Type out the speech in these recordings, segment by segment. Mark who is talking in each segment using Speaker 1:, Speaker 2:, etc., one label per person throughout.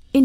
Speaker 1: verscheen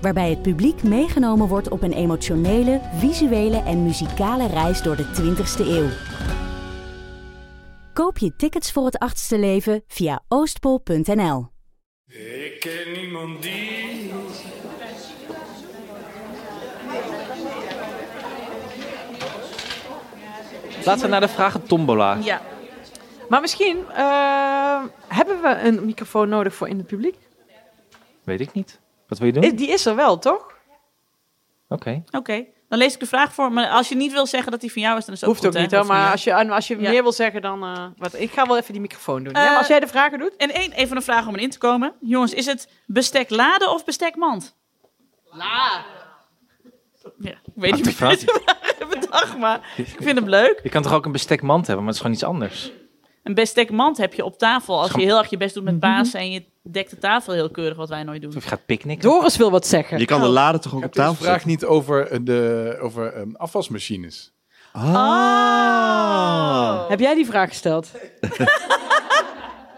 Speaker 1: Waarbij het publiek meegenomen wordt op een emotionele, visuele en muzikale reis door de 20ste eeuw. Koop je tickets voor het achtste leven via oostpol.nl.
Speaker 2: Ik ken niemand die.
Speaker 3: Laten we naar de vragen tombola.
Speaker 4: Ja. Maar misschien eh, hebben we een microfoon nodig voor in het publiek.
Speaker 3: Weet ik niet. Wat wil je doen?
Speaker 4: Eh, Die is er wel, toch?
Speaker 3: Oké.
Speaker 5: Oké, dan lees ik de vraag voor. Maar als je niet wil zeggen dat die van jou is, dan is dat
Speaker 4: Hoeft
Speaker 5: goed,
Speaker 4: ook niet,
Speaker 5: hè?
Speaker 4: hoor.
Speaker 5: Hoeft
Speaker 4: Maar
Speaker 5: niet.
Speaker 4: als je, en als je
Speaker 5: Ja.
Speaker 4: meer wil zeggen, dan... eh, wat, ik ga wel even die microfoon doen. ja,
Speaker 5: Eh,
Speaker 4: maar als jij de vragen doet...
Speaker 5: En één, even een vraag om erin te komen. Jongens, is het bestek laden of bestek mand? La. Ja, ik weet
Speaker 3: Wat
Speaker 5: niet
Speaker 3: de
Speaker 5: hoe je het hebt bedacht, maar ik vind hem leuk.
Speaker 3: Je kan toch ook een bestekmand hebben, maar het is gewoon iets anders.
Speaker 5: Een bestekmand heb je op tafel als je
Speaker 3: Scham-
Speaker 5: heel erg je best doet met baas en je dekt de tafel heel keurig, wat wij nooit doen.
Speaker 3: Of je gaat picknicken.
Speaker 4: Doris wil wat zeggen.
Speaker 6: Je kan de laden toch ook op
Speaker 7: Het is
Speaker 6: tafel
Speaker 7: de vraag
Speaker 6: zetten?
Speaker 7: niet over, eh, de, over ehm, afwasmachines.
Speaker 6: Ah.
Speaker 4: Oh. Heb jij die vraag gesteld?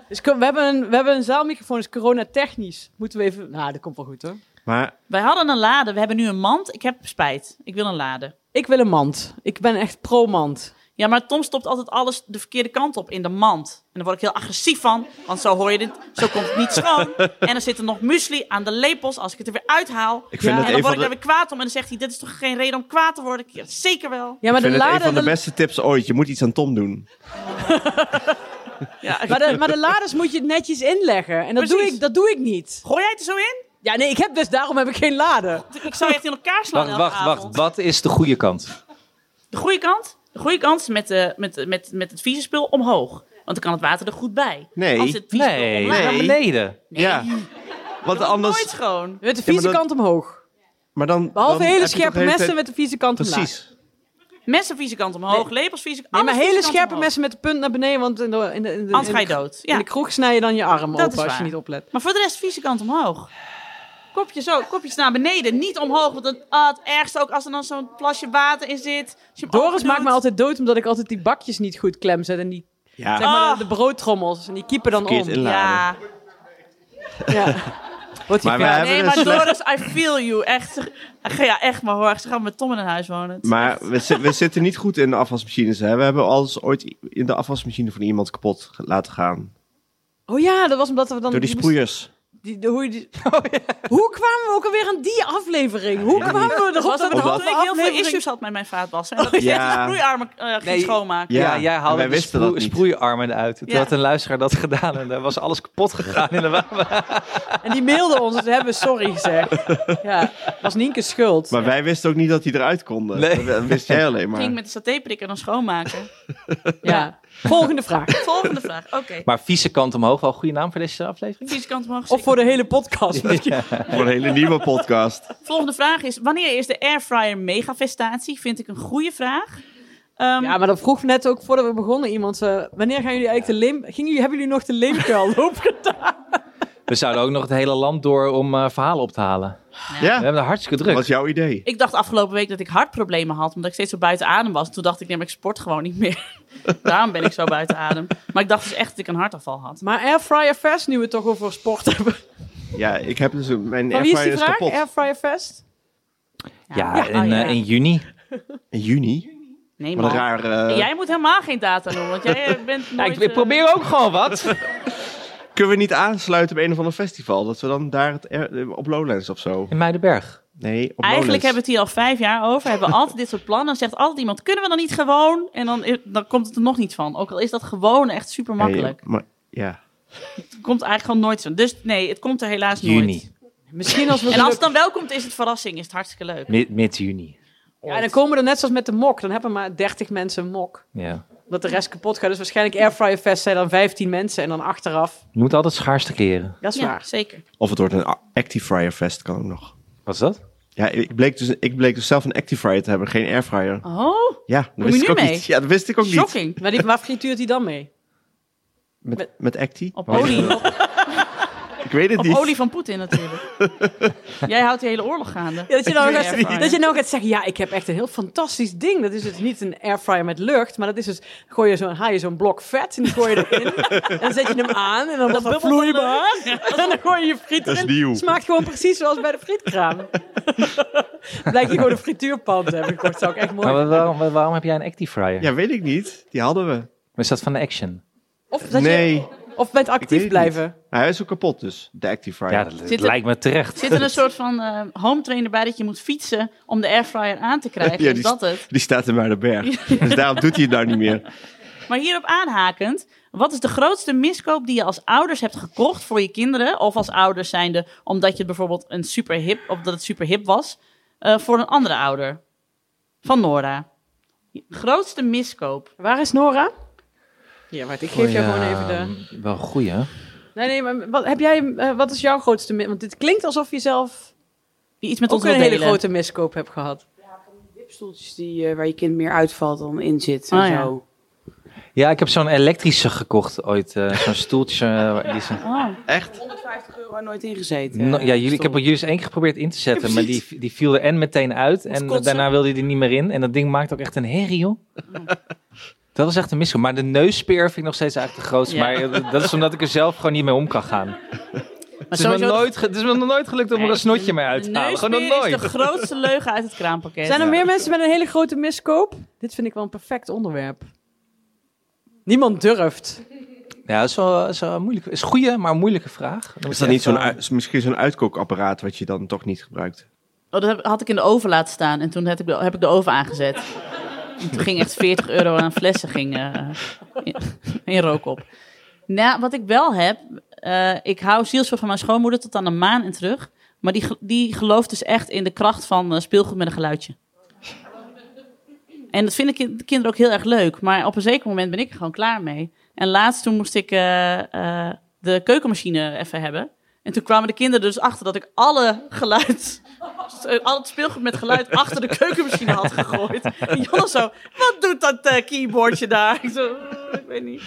Speaker 4: dus kom, we, hebben een, we hebben een zaalmicrofoon, dus coronatechnisch. Moeten we even... Nou, dat komt wel goed, hoor.
Speaker 6: Maar
Speaker 5: Wij hadden een lade, we hebben nu een mand. Ik heb spijt, ik wil een lade.
Speaker 4: Ik wil een mand. Ik ben echt pro-mand.
Speaker 5: Ja, maar Tom stopt altijd alles de verkeerde kant op in de mand. En daar word ik heel agressief van, want zo hoor je dit, zo komt het niet schoon. En er zitten nog muesli aan de lepels als ik het er weer uithaal.
Speaker 6: ik vind
Speaker 4: Ja,
Speaker 5: en
Speaker 6: het
Speaker 5: dan
Speaker 6: een van
Speaker 5: word ik daar
Speaker 6: de,
Speaker 5: weer kwaad om en dan zegt hij, dit is toch geen reden om kwaad te worden? Ik, ja, zeker wel.
Speaker 6: ik
Speaker 4: Ja, maar
Speaker 6: vind
Speaker 4: de
Speaker 6: het een
Speaker 4: laden...
Speaker 6: van de
Speaker 4: de-
Speaker 6: beste tips ooit. Je moet iets aan Tom doen.
Speaker 5: Ja,
Speaker 4: Maar de, maar de laders moet je het netjes inleggen. En dat doe,
Speaker 5: Precies.
Speaker 4: ik, dat doe ik niet.
Speaker 5: Gooi jij het er zo in?
Speaker 4: Ja, nee, ik heb dus daarom heb ik geen laden.
Speaker 5: Ik zou je echt in elkaar slaan
Speaker 3: Wacht,
Speaker 5: elke
Speaker 3: wacht,
Speaker 5: avond.
Speaker 3: wacht. Wat is de goede kant?
Speaker 5: De goede kant? De goede kant is met, de, met, met, met het vieze spul omhoog. Want dan kan het water er goed bij.
Speaker 6: Nee.
Speaker 5: Als het vieze spul
Speaker 3: Nee,
Speaker 5: omlaag,
Speaker 6: Nee.
Speaker 3: naar beneden.
Speaker 6: Ja. Want
Speaker 5: dan wordt het nooit
Speaker 6: anders...
Speaker 5: schoon.
Speaker 4: Met de
Speaker 6: Ja, maar
Speaker 4: vieze
Speaker 6: dat-
Speaker 4: kant omhoog.
Speaker 6: Maar dan,
Speaker 4: Behalve
Speaker 6: dan
Speaker 4: hele
Speaker 6: heb je toch
Speaker 4: scherpe
Speaker 6: de hele
Speaker 4: messen
Speaker 6: tijd-
Speaker 4: met de vieze kant omlaag.
Speaker 6: Precies.
Speaker 5: Messen vieze kant omhoog, lepels vieze kant
Speaker 4: Nee, maar
Speaker 5: alles
Speaker 4: hele
Speaker 5: vieze kant
Speaker 4: scherpe
Speaker 5: omhoog.
Speaker 4: messen met de punt naar beneden, want in de, in de, in de, in de-
Speaker 5: Anders ga je dood.
Speaker 4: in
Speaker 5: Ja.
Speaker 4: de kroeg snij je dan je arm
Speaker 5: Dat
Speaker 4: open
Speaker 5: is
Speaker 4: als je
Speaker 5: waar.
Speaker 4: niet oplet.
Speaker 5: Maar voor de rest vieze kant omhoog. Kopje zo, kopjes naar beneden, niet omhoog. Want dat, ah, het ergste ook als er dan zo'n plasje water in zit. Als je hem
Speaker 4: Doris
Speaker 5: opendoet.
Speaker 4: maakt me altijd dood omdat ik altijd die bakjes niet goed klem zet en die,
Speaker 6: Ja.
Speaker 4: zeg maar,
Speaker 5: Ah.
Speaker 4: de, de broodtrommels en die kiepen dan
Speaker 6: Verkeerd
Speaker 4: om.
Speaker 6: inladen.
Speaker 5: Ja,
Speaker 4: Ja. Wordt die
Speaker 6: Maar wij
Speaker 4: ver-
Speaker 6: hebben dus-
Speaker 5: nee,
Speaker 6: een
Speaker 5: maar
Speaker 6: slecht-
Speaker 5: Doris, I feel you. Echt, Ach, ja, echt maar hoor. Ze gaan met Tom in een huis wonen. Het is
Speaker 6: Maar
Speaker 5: echt-
Speaker 6: we, zi- we zitten niet goed in de afwasmachines. Hè? We hebben alles ooit i- in de afwasmachine van iemand kapot ge- laten gaan.
Speaker 4: Oh ja, dat was omdat we dan...
Speaker 6: Door die
Speaker 4: moest-
Speaker 6: sproeiers.
Speaker 4: die- de- hoe, je die- Oh hoe kwamen we ook alweer aan die aflevering? Hoe kwamen we erop
Speaker 5: was
Speaker 4: dat
Speaker 5: dat
Speaker 4: we
Speaker 5: de
Speaker 4: de
Speaker 5: hand dat ik heel veel
Speaker 4: aflevering-
Speaker 5: issues had met mijn vaatwassen. En dat ik
Speaker 6: Oh, Ja.
Speaker 5: steeds de sproeiarmen eh, ging
Speaker 3: Nee.
Speaker 5: schoonmaken.
Speaker 3: Ja,
Speaker 6: Ja,
Speaker 3: jij
Speaker 6: en
Speaker 3: haalde
Speaker 6: wij
Speaker 3: de
Speaker 6: wisten dat
Speaker 3: sproe-
Speaker 6: niet.
Speaker 3: sproeiarmen eruit. Toen
Speaker 5: Ja.
Speaker 3: had een luisteraar dat gedaan en daar was alles kapot gegaan in de wapen.
Speaker 4: En die mailde ons, dus we hebben sorry gezegd. Ja, was Nienke's schuld.
Speaker 6: Maar wij wisten ook niet dat die eruit konden.
Speaker 3: Nee.
Speaker 6: Dat wist jij alleen
Speaker 5: Ik
Speaker 6: maar.
Speaker 5: ging met de satéprikker dan schoonmaken.
Speaker 4: ja. Volgende vraag.
Speaker 5: Volgende vraag. Oké.
Speaker 3: Maar vieze kant omhoog, wel een goede naam voor deze aflevering?
Speaker 5: Vieze kant omhoog.
Speaker 4: Of voor de hele podcast.
Speaker 6: Voor een hele nieuwe podcast.
Speaker 5: Volgende vraag is: wanneer is de airfryer megafestatie? Vind ik een goede vraag. Ehm,
Speaker 4: Ja, maar dat vroeg net ook voordat we begonnen iemand. eh, wanneer gaan jullie eigenlijk de lim... Gingen jullie, hebben jullie nog de leemkuil opgedaan?
Speaker 3: We zouden ook nog het hele land door om eh, verhalen op te halen. We
Speaker 6: Ja,
Speaker 3: hebben het hartstikke
Speaker 6: dat
Speaker 3: druk.
Speaker 6: was jouw idee.
Speaker 5: Ik dacht afgelopen week dat ik hartproblemen had, omdat ik steeds zo buiten adem was. Toen dacht ik, nee, maar ik sport gewoon niet meer. Daarom ben ik zo buiten adem. Maar ik dacht dus echt dat ik een hartafval had.
Speaker 4: Maar Airfryer Fest, nu we het toch over sport hebben.
Speaker 6: Ja, ik heb dus een- mijn
Speaker 4: Van wie is
Speaker 6: airfryer
Speaker 4: die
Speaker 6: is
Speaker 4: vraag?
Speaker 6: kapot.
Speaker 4: Airfryer Fest?
Speaker 3: Ja,
Speaker 5: Ja,
Speaker 3: in,
Speaker 5: oh, ja.
Speaker 3: eh, in juni.
Speaker 6: In juni?
Speaker 5: Nee,
Speaker 6: Wat een
Speaker 5: man.
Speaker 6: raar... eh,
Speaker 5: Jij moet helemaal geen data noemen, want jij eh, bent
Speaker 3: Ja,
Speaker 5: nooit,
Speaker 3: ik, ik
Speaker 5: eh,
Speaker 3: probeer ook gewoon wat.
Speaker 6: Kunnen we niet aansluiten op een of ander festival? Dat we dan daar het, air- op Lowlands of zo?
Speaker 3: In Muidenberg.
Speaker 6: Nee, op
Speaker 5: Eigenlijk
Speaker 6: Lowlands.
Speaker 5: hebben we het hier al vijf jaar over. Hebben we altijd dit soort plannen. Dan zegt altijd iemand, kunnen we dan niet gewoon? En dan, dan komt het er nog niet van. Ook al is dat gewoon echt super makkelijk.
Speaker 6: Hey, maar, ja.
Speaker 5: komt eigenlijk gewoon nooit van. Dus nee, het komt er helaas nooit.
Speaker 3: Juni.
Speaker 4: Misschien als we...
Speaker 5: En als het
Speaker 4: geluk-
Speaker 5: dan wel komt, is het verrassing. Is het hartstikke leuk.
Speaker 3: Mid, mid juni.
Speaker 4: Ja, dan komen er net zoals met de mok. Dan hebben maar 30 mensen een mok.
Speaker 3: Ja.
Speaker 4: Omdat de rest kapot gaat. Dus waarschijnlijk Airfryer Fest zijn dan 15 mensen. En dan achteraf.
Speaker 3: Je moet altijd schaarste kleren.
Speaker 4: Dat is
Speaker 5: ja,
Speaker 4: waar.
Speaker 5: zeker.
Speaker 6: Of het wordt een Active Fryer Fest, kan ook nog.
Speaker 3: Wat is dat?
Speaker 6: Ja, ik bleek, dus, ik bleek dus zelf een Actifryer te hebben, geen airfryer.
Speaker 4: Oh,
Speaker 6: Ja, dat
Speaker 5: Kom
Speaker 6: wist
Speaker 5: je
Speaker 6: ik
Speaker 5: nu
Speaker 6: ook
Speaker 5: mee?
Speaker 6: niet. Ja, dat wist ik ook niet.
Speaker 5: Shocking.
Speaker 4: maar die, waar frituurt hij dan mee?
Speaker 6: Met, met Acti?
Speaker 5: Op
Speaker 6: Maar,
Speaker 5: olie,
Speaker 6: eh,
Speaker 5: op,
Speaker 6: Ik weet het
Speaker 5: op
Speaker 6: niet.
Speaker 5: olie van Poetin natuurlijk. Jij houdt die hele oorlog gaande.
Speaker 4: Ja, dat, je nou
Speaker 5: Met
Speaker 4: gaat,
Speaker 5: die airfryer.
Speaker 4: dat je nou gaat zeggen, ja, ik heb echt een heel fantastisch ding. Dat is dus niet een airfryer met lucht, maar dat is dus, gooi je zo'n, haal je zo'n blok vet en die gooi je erin. en dan zet je hem aan en dan wordt dat
Speaker 5: bubbelt
Speaker 4: vloeibaar. En dan gooi je je friet
Speaker 6: Dat is
Speaker 4: erin.
Speaker 6: nieuw.
Speaker 4: Smaakt gewoon precies zoals bij de frietkraam. Blijkt je gewoon een frituurpan te hebben gekocht, zou ik echt mooi
Speaker 6: Nou,
Speaker 3: Maar waarom, waar- waarom heb jij een Actifryer?
Speaker 6: Ja, weet ik niet. Die hadden we.
Speaker 3: Is dat van de Action?
Speaker 4: Of, dat
Speaker 6: nee,
Speaker 4: je, of met
Speaker 6: weet het
Speaker 4: actief
Speaker 6: niet.
Speaker 4: blijven.
Speaker 6: hij is ook kapot dus, de Actifryer.
Speaker 3: Ja, dat, dat
Speaker 5: Zit er-
Speaker 3: lijkt me terecht.
Speaker 5: Zit er een soort van eh, home trainer bij dat je moet fietsen om de airfryer aan te krijgen?
Speaker 6: Ja,
Speaker 5: is
Speaker 6: die
Speaker 5: dat het?
Speaker 6: Die staat in Muidenberg. dus daarom doet hij het nou niet meer.
Speaker 5: Maar hierop aanhakend, wat is de grootste miskoop die je als ouders hebt gekocht voor je kinderen? Of als ouders zijnde, omdat je het bijvoorbeeld een super hip, of dat het super hip was, eh, voor een andere ouder? Van Nora. Grootste miskoop.
Speaker 4: Waar is Nora? Ja, maar ik
Speaker 3: Oh
Speaker 4: geef jou gewoon even de...
Speaker 3: ehm, Wel goeie. hè?
Speaker 4: Nee, nee, maar wat, heb jij, eh, wat is jouw grootste... mi- Want dit klinkt alsof je zelf...
Speaker 5: Die iets met
Speaker 4: ook
Speaker 5: ons
Speaker 4: een
Speaker 5: wil
Speaker 4: hele
Speaker 5: delen.
Speaker 4: grote miskoop heb gehad.
Speaker 8: Stoeltjes die, eh, waar je kind meer uitvalt dan in zit en
Speaker 5: Ah, ja.
Speaker 8: zo.
Speaker 3: Ja, ik heb zo'n elektrische gekocht ooit. eh, zo'n stoeltje. eh, die is een-
Speaker 5: Oh.
Speaker 6: Ah. Echt?
Speaker 8: 150 euro en nooit ingezeten.
Speaker 3: No-
Speaker 5: Nou,
Speaker 4: eh,
Speaker 3: ja, jullie, ik
Speaker 8: stoel.
Speaker 3: heb er jullie eens één keer geprobeerd in te zetten, maar die, die viel er en meteen uit. En
Speaker 5: kotsen.
Speaker 3: daarna wilde hij er niet meer in. En dat ding maakt ook echt een herrie, joh. Dat is echt een misgaan. Maar de neuspeer vind ik nog steeds eigenlijk de grootste.
Speaker 5: Ja.
Speaker 3: Maar eh, dat is omdat ik er zelf gewoon niet mee om kan gaan. het, is me
Speaker 5: sowieso-
Speaker 3: nooit, ge- het is me Dus nog nooit gelukt om er een snotje mee uit
Speaker 5: De
Speaker 3: te halen. Gewoon nog
Speaker 5: neusmeer is de
Speaker 3: nooit.
Speaker 5: grootste leugen uit het kraampakket.
Speaker 4: Zijn er
Speaker 5: Ja.
Speaker 4: meer mensen met een hele grote miskoop? Dit vind ik wel een perfect onderwerp. Niemand durft.
Speaker 3: Ja, dat is wel, is wel moeilijk. is een goede, maar moeilijke vraag. Dan moet
Speaker 6: Is
Speaker 3: je eh,
Speaker 6: dat niet
Speaker 3: echt
Speaker 6: zo'n,
Speaker 3: wel-
Speaker 6: ui- is misschien zo'n uitkookapparaat wat je dan toch niet gebruikt?
Speaker 5: Oh, dat heb- had ik in de oven laten staan en toen heb ik de, heb ik de oven aangezet. En toen ging echt 40 euro aan flessen ging, eh, in, in rook op. Nou, wat ik wel heb, eh, ik hou zielsveel van mijn schoonmoeder tot aan een maan en terug. Maar die, ge- die gelooft dus echt in de kracht van eh, speelgoed met een geluidje. En dat vinden kin- de kinderen ook heel erg leuk. Maar op een zeker moment ben ik er gewoon klaar mee. En laatst toen moest ik eh, eh, de keukenmachine even hebben. En toen kwamen de kinderen dus achter dat ik alle geluid eh, al het speelgoed met geluid achter de keukenmachine had gegooid. En Jonne zo, wat doet dat eh, keyboardje daar? Ik zo, "Eh, ik weet niet.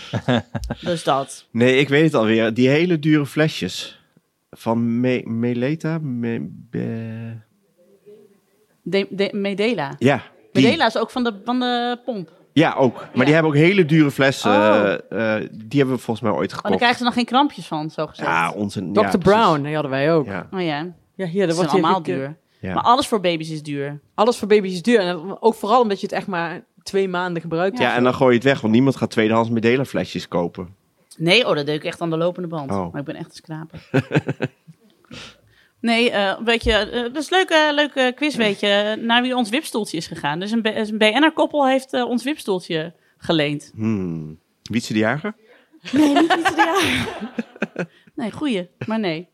Speaker 5: Dus dat.
Speaker 6: Nee, ik weet het alweer. Die hele dure flesjes. Van Me- Meleta? Me- Be-
Speaker 5: De, de, Medela.
Speaker 6: ja. die.
Speaker 5: Medela is ook van de, van de pomp. Oh,
Speaker 6: Ja, ook. Maar
Speaker 5: Ja.
Speaker 6: die hebben ook hele dure flessen.
Speaker 5: Oh.
Speaker 6: eh, eh, die hebben we volgens mij ooit
Speaker 5: dan
Speaker 6: gekocht.
Speaker 5: krijgen ze nog geen krampjes van, zo gezegd.
Speaker 6: ja, onzin.
Speaker 4: Dr.
Speaker 6: Ja, precies.
Speaker 4: Brown, die hadden wij ook. Ja,
Speaker 6: Ja,
Speaker 5: Oh ja,
Speaker 4: hier,
Speaker 5: dat
Speaker 4: dat wordt
Speaker 5: is
Speaker 4: hier
Speaker 5: allemaal
Speaker 4: gek-
Speaker 5: duur.
Speaker 6: ja.
Speaker 5: Maar alles voor baby's is duur.
Speaker 4: Alles voor baby's is duur. En ook vooral omdat je het echt maar twee maanden gebruikt.
Speaker 6: ja, en dan gooi je het weg, want niemand gaat tweedehands Medela flesjes kopen.
Speaker 5: Nee, oh, dat deed ik echt aan de lopende band.
Speaker 6: Oh.
Speaker 5: Maar ik ben echt een skraper. nee, eh, weet je, eh, dat is een leuke, leuke quiz, weet je, naar wie ons wipstoeltje is gegaan. Dus een, B- een BNR-koppel heeft eh, ons wipstoeltje geleend.
Speaker 6: Hmm. Wietse de Jager?
Speaker 5: Nee, goeie, maar nee.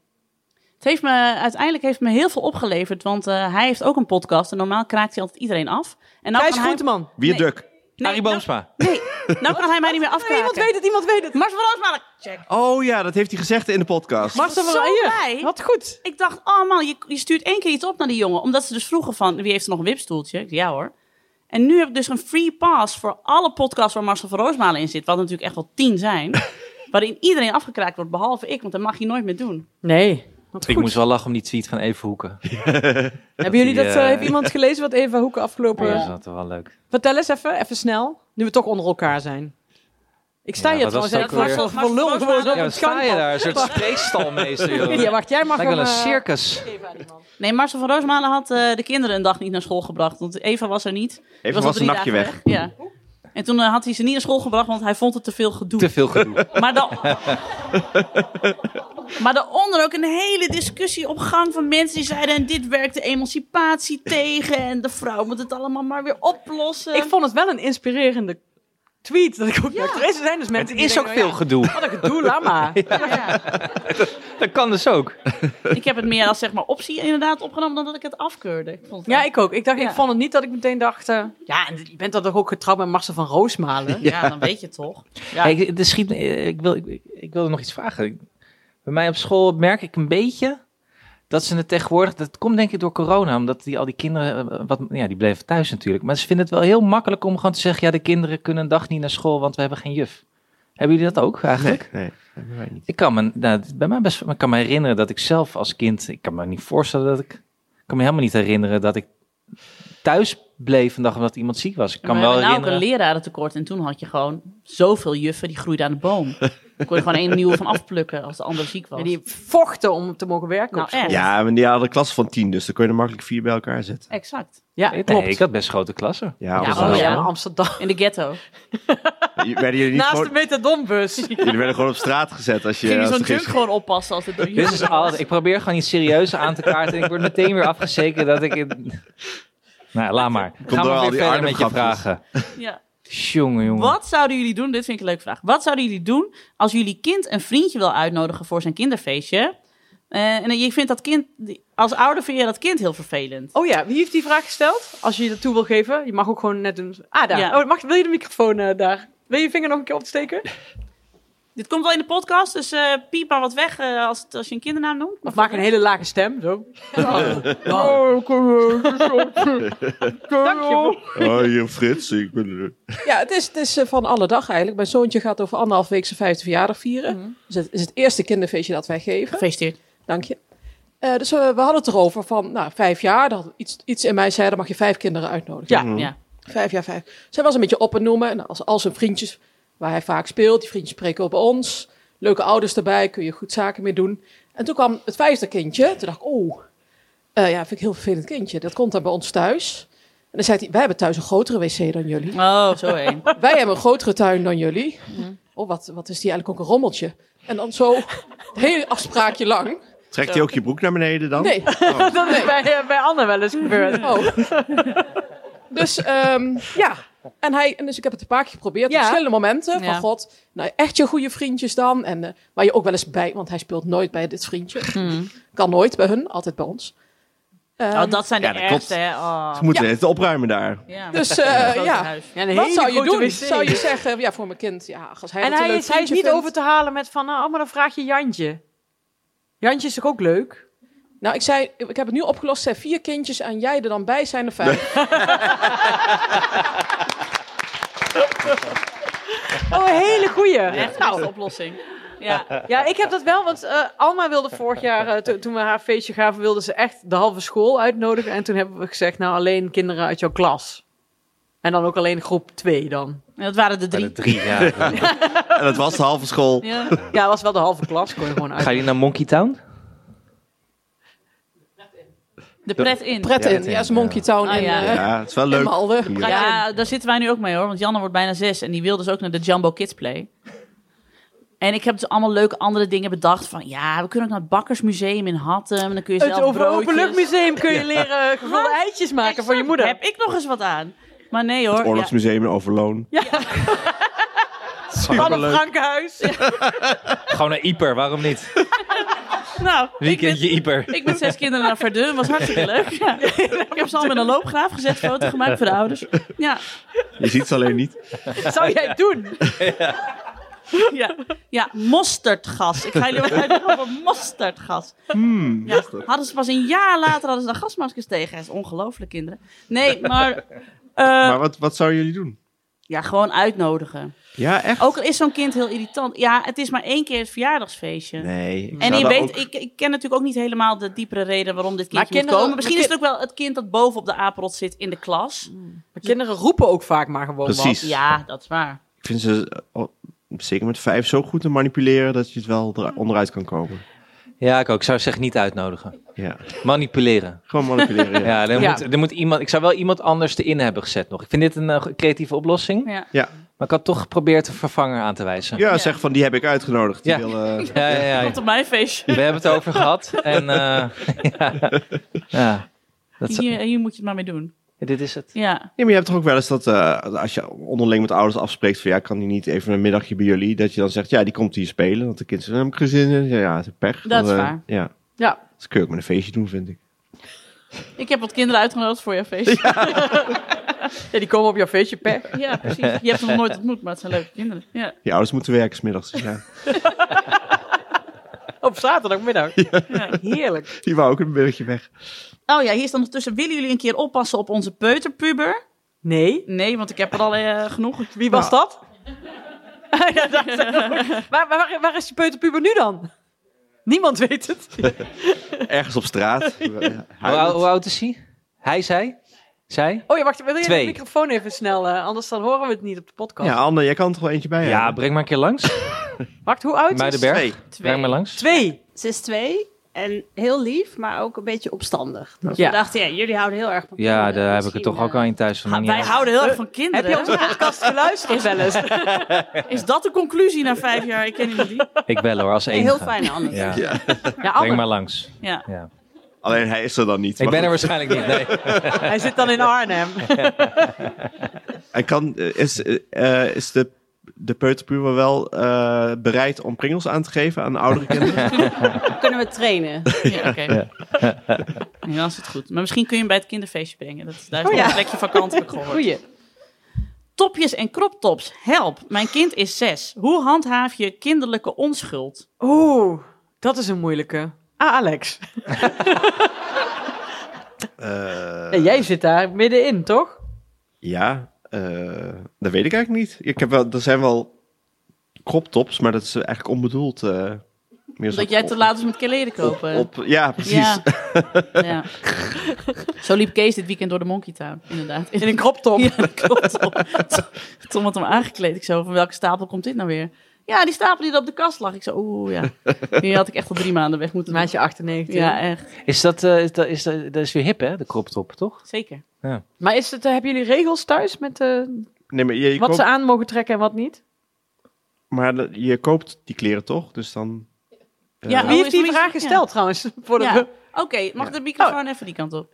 Speaker 5: Het heeft me, uiteindelijk heeft me heel veel opgeleverd, want eh, hij heeft ook een podcast. En normaal kraakt hij altijd iedereen af. En nou
Speaker 4: Gijs
Speaker 5: kan hij,
Speaker 4: Groenteman.
Speaker 6: Wie
Speaker 5: Nee.
Speaker 6: Duk?
Speaker 3: Arie
Speaker 5: nou,
Speaker 3: Boomsma.
Speaker 5: nou kan hij mij niet meer
Speaker 4: Nee, iemand
Speaker 5: afkraken.
Speaker 4: weet het, iemand weet het.
Speaker 5: Mars van Roosmalen, check.
Speaker 6: Oh ja, dat heeft hij gezegd in de podcast.
Speaker 4: Marcel
Speaker 5: was
Speaker 4: van
Speaker 5: zo
Speaker 4: Aijen.
Speaker 5: blij.
Speaker 4: Wat goed.
Speaker 5: Ik dacht, oh man, je, je stuurt één keer iets op naar die jongen. Omdat ze dus vroegen van, wie heeft er nog een wipstoeltje? Ik zei, Ja hoor. En nu heb ik dus een free pass voor alle podcasts waar Marcel van Roosmalen in zit. Wat er natuurlijk echt wel tien zijn. waarin iedereen afgekraakt wordt, behalve ik. Want dat mag je nooit meer doen.
Speaker 4: Nee. Wat
Speaker 3: Ik
Speaker 4: goed.
Speaker 3: moest wel lachen om die tweet van Even Hoeken.
Speaker 4: Hebben jullie dat,
Speaker 3: die,
Speaker 4: eh,
Speaker 3: eh,
Speaker 4: heeft iemand gelezen wat Eva Hoeken afgelopen...
Speaker 3: Dat is dat wel leuk.
Speaker 4: Vertel eens even, even snel. Nu we toch onder elkaar zijn. Ik sta
Speaker 3: Ja,
Speaker 4: hier
Speaker 3: wat was
Speaker 4: trouwens echt
Speaker 3: het ook
Speaker 4: voor,
Speaker 5: alweer?
Speaker 4: voor lul gewoon op
Speaker 5: Ja,
Speaker 3: Ja,
Speaker 4: een
Speaker 3: dan sta je
Speaker 4: gangpad.
Speaker 3: daar, een soort spreekstalmeester. joh.
Speaker 4: Ja, wacht, jij mag
Speaker 3: Lijkt wel
Speaker 4: hem,
Speaker 3: een
Speaker 4: eh,
Speaker 3: circus.
Speaker 5: Nee, Marcel van Roosmalen had eh, de kinderen een dag niet naar school gebracht. Want Eva was er niet. Die
Speaker 6: Even
Speaker 5: al
Speaker 6: was een
Speaker 5: drie
Speaker 6: nachtje weg.
Speaker 5: dagen Ja. En toen eh, had hij ze niet naar school gebracht, want hij vond het te veel gedoe.
Speaker 3: Te veel gedoe.
Speaker 5: Maar, dan... maar daaronder ook een hele discussie op gang van mensen die zeiden... en dit werkt de emancipatie tegen en de vrouw moet het allemaal maar weer oplossen.
Speaker 4: Ik vond het wel een inspirerende tweet. Dat ik ook dacht, er zijn dus
Speaker 3: Het
Speaker 4: mensen die
Speaker 3: is ook
Speaker 4: denken,
Speaker 3: veel
Speaker 4: nou
Speaker 3: gedoe.
Speaker 4: ja, Wat een gedoe, laat maar.
Speaker 5: Ja.
Speaker 3: Dat kan dus ook.
Speaker 5: ik heb het meer als zeg maar, optie inderdaad opgenomen dan dat ik het afkeurde. Ik vond het
Speaker 4: Ja, ik ook. Ik, dacht,
Speaker 5: Ja.
Speaker 4: ik vond het niet dat ik meteen dacht... eh, ja, en je bent dan toch ook getrouwd met Marcel van Roosmalen?
Speaker 5: ja, dan weet je het toch. Ja.
Speaker 3: Hey, ik, er schiet me- eh, ik, wil, ik, ik wilde nog iets vragen. Ik- Bij mij op school merk ik een beetje Dat ze het tegenwoordig, dat komt denk ik door corona, omdat die, al die kinderen, eh, wat, ja, die bleven thuis natuurlijk. Maar ze vinden het wel heel makkelijk om gewoon te zeggen, ja, de kinderen kunnen een dag niet naar school, want we hebben geen juf. Hebben jullie dat ook eigenlijk?
Speaker 6: Nee, dat hebben wij niet.
Speaker 3: Ik kan me, nou, het is bij mij best, ik kan me herinneren dat ik zelf als kind, ik kan me niet voorstellen dat ik, ik kan me helemaal niet herinneren dat ik thuis bleef een dag omdat iemand ziek was. Ik kan
Speaker 5: we
Speaker 3: me wel
Speaker 5: hebben nou ook
Speaker 3: herinneren.
Speaker 5: een lerarentekort en toen had je gewoon zoveel juffen die groeiden aan de boom. Dan kon je gewoon één nieuwe van afplukken als de ander ziek was.
Speaker 4: En die vochten om te mogen werken
Speaker 5: Nou,
Speaker 4: op school.
Speaker 5: echt.
Speaker 6: Ja, maar die hadden een klas van tien, dus dan kun je er makkelijk vier bij elkaar zetten.
Speaker 5: Exact.
Speaker 4: Ja,
Speaker 3: Nee,
Speaker 4: klopt.
Speaker 3: ik had best grote klassen.
Speaker 6: Ja,
Speaker 5: Ja,
Speaker 6: of-
Speaker 5: oh
Speaker 4: Oh,
Speaker 5: ja.
Speaker 4: ja, Amsterdam.
Speaker 5: In de ghetto.
Speaker 6: Je- werden jullie, niet
Speaker 4: Naast
Speaker 6: gewoon,
Speaker 4: de metadombus.
Speaker 6: jullie werden gewoon op straat gezet als je...
Speaker 5: Ging je
Speaker 6: als
Speaker 5: zo'n
Speaker 6: er
Speaker 5: junk
Speaker 6: geen-
Speaker 5: gewoon oppassen als het door
Speaker 3: Dit is
Speaker 5: juffen was.
Speaker 3: alles. Ik probeer gewoon iets serieus aan te kaarten. En Dus ik word meteen weer afgezekerd dat ik. In... Nou, ja, laat maar. Gaan
Speaker 6: door
Speaker 3: we
Speaker 6: al
Speaker 3: weer
Speaker 6: die
Speaker 3: verder met je
Speaker 6: Arnhem-grapjes.
Speaker 3: vragen.
Speaker 5: Ja.
Speaker 3: Jongen, jongen.
Speaker 5: Wat zouden jullie doen? Dit vind ik een leuke vraag. Wat zouden jullie doen als jullie kind een vriendje wil uitnodigen voor zijn kinderfeestje? Eh, en je vindt dat kind, als ouder vind je dat kind heel vervelend.
Speaker 4: Oh ja, wie heeft die vraag gesteld? Als je je dat toe wil geven. Je mag ook gewoon net doen. Ah, daar.
Speaker 5: Ja.
Speaker 4: Oh, mag, wil je de microfoon eh, daar? Wil je je vinger nog een keer opsteken?
Speaker 5: Dit komt wel in de podcast, dus eh, piep maar wat weg eh, als, het- als je een kindernaam noemt.
Speaker 4: Of maak een hele lage stem, zo. Oh, kom eh, Dank je.
Speaker 6: Oh, je Frits, ik ben er.
Speaker 9: Ja, het is, het is eh, van alle dag eigenlijk. Mijn zoontje gaat over anderhalf week zijn vijfde verjaardag vieren. Dus het is het eerste kinderfeestje dat wij geven.
Speaker 5: Mhm. Gefeliciteerd.
Speaker 9: Dank je. Eh, dus eh, we hadden het erover van, nou, vijf jaar. Dat iets, iets in mij zei, dan mag je vijf kinderen uitnodigen.
Speaker 4: Ja.
Speaker 5: Ja.
Speaker 9: Vijf jaar, vijf. Zij was een beetje op en noemen. En als, als zijn vriendjes, waar hij vaak speelt, die vriendjes spreken op ons. Leuke ouders erbij, kun je goed zaken mee doen. En toen kwam het vijfde kindje. Toen dacht ik, oh, eh, ja, vind ik een heel vervelend kindje. Dat komt dan bij ons thuis. En dan zei hij, wij hebben thuis een grotere wc dan jullie.
Speaker 5: Oh, zo heen.
Speaker 9: Wij hebben een grotere tuin dan jullie. Oh, wat, wat is die eigenlijk ook een rommeltje? En dan zo het hele afspraakje lang.
Speaker 6: Trekt hij ook je broek naar beneden dan? Oh.
Speaker 9: Nee.
Speaker 4: Dat is bij, eh, bij Anne wel eens gebeurd.
Speaker 9: Oh. Dus ehm, ja. En hij, en dus ik heb het een paar keer geprobeerd. op
Speaker 4: Ja.
Speaker 9: Verschillende momenten. Van
Speaker 5: Ja.
Speaker 9: god, nou echt je goede vriendjes dan. En eh, waar je ook wel eens bij, want hij speelt nooit bij dit vriendje.
Speaker 4: Hmm.
Speaker 9: Kan nooit bij hun, altijd bij ons. Ehm,
Speaker 5: Oh, dat zijn de
Speaker 6: Ja, dat
Speaker 5: ergste,
Speaker 6: klopt.
Speaker 5: hè. Oh.
Speaker 6: Ze moeten het opruimen daar.
Speaker 5: Ja.
Speaker 9: Dus eh,
Speaker 5: Grote
Speaker 9: ja,
Speaker 5: huis.
Speaker 4: Ja, een
Speaker 9: wat
Speaker 4: hele
Speaker 9: zou je
Speaker 4: grote
Speaker 9: doen?
Speaker 4: wc.
Speaker 9: Zou je zeggen, ja, voor mijn kind, ja, als hij
Speaker 4: En
Speaker 9: dat een
Speaker 4: hij
Speaker 9: leuk
Speaker 4: is, hij is
Speaker 9: vriendje
Speaker 4: niet
Speaker 9: vindt.
Speaker 4: over te halen met van, nou, maar dan vraag je Jantje. Jantje is toch ook leuk?
Speaker 9: Nou, ik zei, ik heb het nu opgelost. Zijn vier kindjes en jij er dan bij zijn er vijf.
Speaker 4: Oh, een hele goeie.
Speaker 5: Echt een beste oplossing. Ja.
Speaker 4: Ja, ik heb dat wel, want eh, Alma wilde vorig jaar, eh, to- toen we haar feestje gaven, wilde ze echt de halve school uitnodigen. En toen hebben we gezegd, nou, alleen kinderen uit jouw klas. En dan ook alleen groep 2 dan.
Speaker 5: En dat waren de
Speaker 3: Bij
Speaker 5: drie.
Speaker 3: de drie jaar.
Speaker 6: En dat was de halve school.
Speaker 5: Ja.
Speaker 4: Ja, was wel de halve klas, kon je gewoon uit.
Speaker 3: Ga je naar Monkey Town?
Speaker 5: De pret in.
Speaker 9: Pret in. Ja, is Monkey Town
Speaker 5: Ah,
Speaker 9: in,
Speaker 5: ja.
Speaker 9: eh,
Speaker 6: Ja, het is wel
Speaker 9: in
Speaker 6: leuk.
Speaker 9: Malden.
Speaker 6: Ja.
Speaker 5: Ja, daar zitten wij nu ook mee hoor. Want Janne wordt bijna zes en die wil dus ook naar de Jumbo Kids Play. En ik heb dus allemaal leuke andere dingen bedacht. Van ja, we kunnen ook naar het Bakkersmuseum in Hattem. En dan kun je zelf
Speaker 4: Het over
Speaker 5: broodjes.
Speaker 4: openluchtmuseum kun je leren eh, gevulde eitjes maken voor je
Speaker 5: Exact.
Speaker 4: moeder.
Speaker 5: Heb ik nog eens wat aan. Maar nee hoor.
Speaker 6: Het Oorlogsmuseum in Overloon.
Speaker 4: Van het Frankenhuis.
Speaker 3: Gewoon naar Ieper, waarom niet?
Speaker 5: Ja, nou, ik ben,
Speaker 3: Weekendje Ieper.
Speaker 5: ik ben zes kinderen naar Verdun. was hartstikke leuk. Ja. Ik heb ze allemaal in een loopgraaf gezet. Foto gemaakt voor de ouders. Ja,
Speaker 6: Je ziet ze alleen niet.
Speaker 4: Zou jij het doen?
Speaker 5: ja. ja mosterdgas. Ik ga jullie wat uitleggen over mosterdgas.
Speaker 6: Hmm.
Speaker 5: ja, Hadden ze pas een jaar later hadden ze dan gasmaskers tegen. Dat is ongelooflijk, kinderen. Nee, maar... eh,
Speaker 6: Maar wat, wat zouden jullie doen?
Speaker 5: Ja, gewoon uitnodigen.
Speaker 6: Ja, echt?
Speaker 5: Ook al is zo'n kind heel irritant. Ja, het is maar één keer het verjaardagsfeestje.
Speaker 6: Nee. ik
Speaker 5: En
Speaker 6: zou
Speaker 5: je
Speaker 6: daar
Speaker 5: weet,
Speaker 6: ook-
Speaker 5: ik, ik ken natuurlijk ook niet helemaal de diepere reden waarom dit
Speaker 4: Maar
Speaker 5: kindje moet
Speaker 4: kinderen-
Speaker 5: komen. Misschien
Speaker 4: maar
Speaker 5: is het ook wel het kind dat boven op de apenrot zit in de klas.
Speaker 4: Maar kinderen roepen ook vaak maar gewoon wat.
Speaker 6: Precies.
Speaker 5: Ja, dat is waar.
Speaker 6: Ik vind ze, eh, oh, zeker met vijf, zo goed te manipuleren dat je het wel er- onderuit kan komen.
Speaker 3: Ja, ik ook. Ik zou zeggen niet uitnodigen.
Speaker 6: Ja.
Speaker 3: Manipuleren.
Speaker 6: Gewoon manipuleren. ja.
Speaker 3: Ja, er
Speaker 4: Ja.
Speaker 3: Moet, er moet iemand, ik zou wel iemand anders erin hebben gezet nog. Ik vind dit een eh, creatieve oplossing.
Speaker 5: Ja.
Speaker 6: Ja.
Speaker 3: Maar ik had toch geprobeerd een vervanger aan te wijzen.
Speaker 6: Ja, zeg van die heb ik uitgenodigd. Die
Speaker 3: Ja.
Speaker 6: wil, eh,
Speaker 3: Ja, ja, ja.
Speaker 5: Komt op mijn feestje.
Speaker 3: We hebben het over gehad. En eh, ja. ja, dat zou-
Speaker 5: Hier, eh, hier moet je het maar mee doen.
Speaker 3: dit is het.
Speaker 5: Ja.
Speaker 6: Nee, maar je hebt toch ook wel eens dat eh, als je onderling met ouders afspreekt van ja, kan die niet even een middagje bij jullie, dat je dan zegt ja, die komt hier spelen, want de kind zegt, "Daar heb ik geen zin in. Ja, ja, het is pech.
Speaker 5: Dat is
Speaker 6: Dan, eh,
Speaker 5: waar.
Speaker 6: Ja.
Speaker 4: Ja.
Speaker 6: Dat kun je ook met een feestje doen, vind ik.
Speaker 5: Ik heb wat kinderen uitgenodigd voor jouw feestje.
Speaker 4: Ja, die komen op jouw feestje, pech.
Speaker 5: Ja, precies. Je hebt ze nog
Speaker 6: dus
Speaker 5: nooit ontmoet, maar het zijn leuke kinderen. Ja.
Speaker 6: Die ouders moeten werken smiddags. Ja.
Speaker 4: Op zaterdagmiddag. Ja, heerlijk.
Speaker 6: Die wou ook een beetje weg.
Speaker 5: Oh ja, hier staat nog tussen. Willen jullie een keer oppassen op onze peuterpuber?
Speaker 4: Nee.
Speaker 5: Nee, want ik heb er al eh, genoeg.
Speaker 4: Wie was dat? ja, dat waar, waar, waar- waar is die peuterpuber nu dan? Niemand weet het.
Speaker 6: Ergens op straat.
Speaker 3: Hoe, ou- hoe
Speaker 6: Huilend.
Speaker 3: oud is hij? Hij, zij? Zij?
Speaker 4: Oh ja, wacht. Wil je de
Speaker 3: Twee.
Speaker 4: microfoon even snel? eh, anders dan horen we het niet op de podcast.
Speaker 6: Ja, Anne, jij kan er toch wel eentje bij
Speaker 3: Ja,
Speaker 6: hebben?
Speaker 3: breng maar een keer langs.
Speaker 4: Wacht, hoe oud is
Speaker 3: Muidenberg.
Speaker 6: Twee.
Speaker 3: Breng maar langs.
Speaker 4: Twee.
Speaker 10: Ze is twee en heel lief, maar ook een beetje opstandig. Dus
Speaker 4: Ja.
Speaker 10: we dachten, ja, jullie houden heel erg van
Speaker 3: Ja, daar heb ik er
Speaker 10: Misschien,
Speaker 3: toch
Speaker 10: eh,
Speaker 3: ook al in thuis van.
Speaker 5: Ah,
Speaker 3: maakt niet
Speaker 5: wij
Speaker 3: uit.
Speaker 5: houden heel erg van
Speaker 4: Heb je
Speaker 5: kinderen.
Speaker 4: onze podcast geluisterd wel eens?
Speaker 5: Is dat de conclusie na vijf jaar? Ik ken jullie niet.
Speaker 3: Ik bel hoor, als
Speaker 5: Nee,
Speaker 3: enige.
Speaker 5: heel fijn, Anne.
Speaker 3: Ja.
Speaker 4: Ja,
Speaker 3: Breng
Speaker 4: Anne,
Speaker 3: maar langs.
Speaker 5: Ja.
Speaker 3: Ja.
Speaker 6: Alleen hij is er dan niet.
Speaker 3: Ik
Speaker 6: Maar
Speaker 3: ben er
Speaker 6: goed.
Speaker 3: waarschijnlijk niet. Nee.
Speaker 4: hij zit dan in Arnhem.
Speaker 6: En kan, eh, is, eh, eh, is de, de peuterpuber wel eh, bereid om pringels aan te geven aan oudere kinderen?
Speaker 10: Kunnen we trainen?
Speaker 5: Ja, oké. Ja, dan is het goed. Maar misschien kun je hem bij het kinderfeestje brengen. Dat, daar is
Speaker 4: Oh
Speaker 5: nog
Speaker 4: ja.
Speaker 5: een plekje vakant, heb ik gehoord.
Speaker 4: Goeie.
Speaker 5: Topjes en croptops, help. Mijn kind is zes. Hoe handhaaf je kinderlijke onschuld?
Speaker 4: Oeh, dat is een moeilijke. Ah, Alex.
Speaker 6: Eh,
Speaker 4: Ja, jij zit daar middenin, toch?
Speaker 6: Ja, eh, dat weet ik eigenlijk niet. Ik heb wel, er zijn wel crop tops, maar dat is eigenlijk onbedoeld. eh meer
Speaker 5: Dat jij te laat is met kleren
Speaker 6: op,
Speaker 5: kopen.
Speaker 6: op, op- Ja, precies.
Speaker 5: Ja. ja. Zo liep Kees dit weekend door de Monkey Town, inderdaad.
Speaker 4: In een crop top.
Speaker 5: Ja, klopt. Tom had hem aangekleed. Ik zo, van welke stapel komt dit nou weer? Ja, die stapel die er op de kast lag. Ik zo, oeh, ja. Die had ik echt al drie maanden weg moeten doen.
Speaker 4: Meisje 98.
Speaker 5: Ja, echt.
Speaker 3: Is dat, eh, is dat, is dat, dat is weer hip, hè? De crop top, toch?
Speaker 5: Zeker.
Speaker 4: Maar is het, eh, hebben jullie regels thuis met eh,
Speaker 6: Nee, maar je, je
Speaker 4: wat
Speaker 6: koopt,
Speaker 4: ze aan mogen trekken en wat niet?
Speaker 6: maar dat- je koopt die kleren toch? Dus dan... eh,
Speaker 5: Ja,
Speaker 4: Wie
Speaker 5: Oh,
Speaker 4: heeft
Speaker 5: is
Speaker 4: die
Speaker 5: Louise-
Speaker 4: vraag
Speaker 5: ja.
Speaker 4: gesteld trouwens? Oh. Voordat
Speaker 5: Ja.
Speaker 4: we-
Speaker 5: Oké, mag de microfoon even die kant op?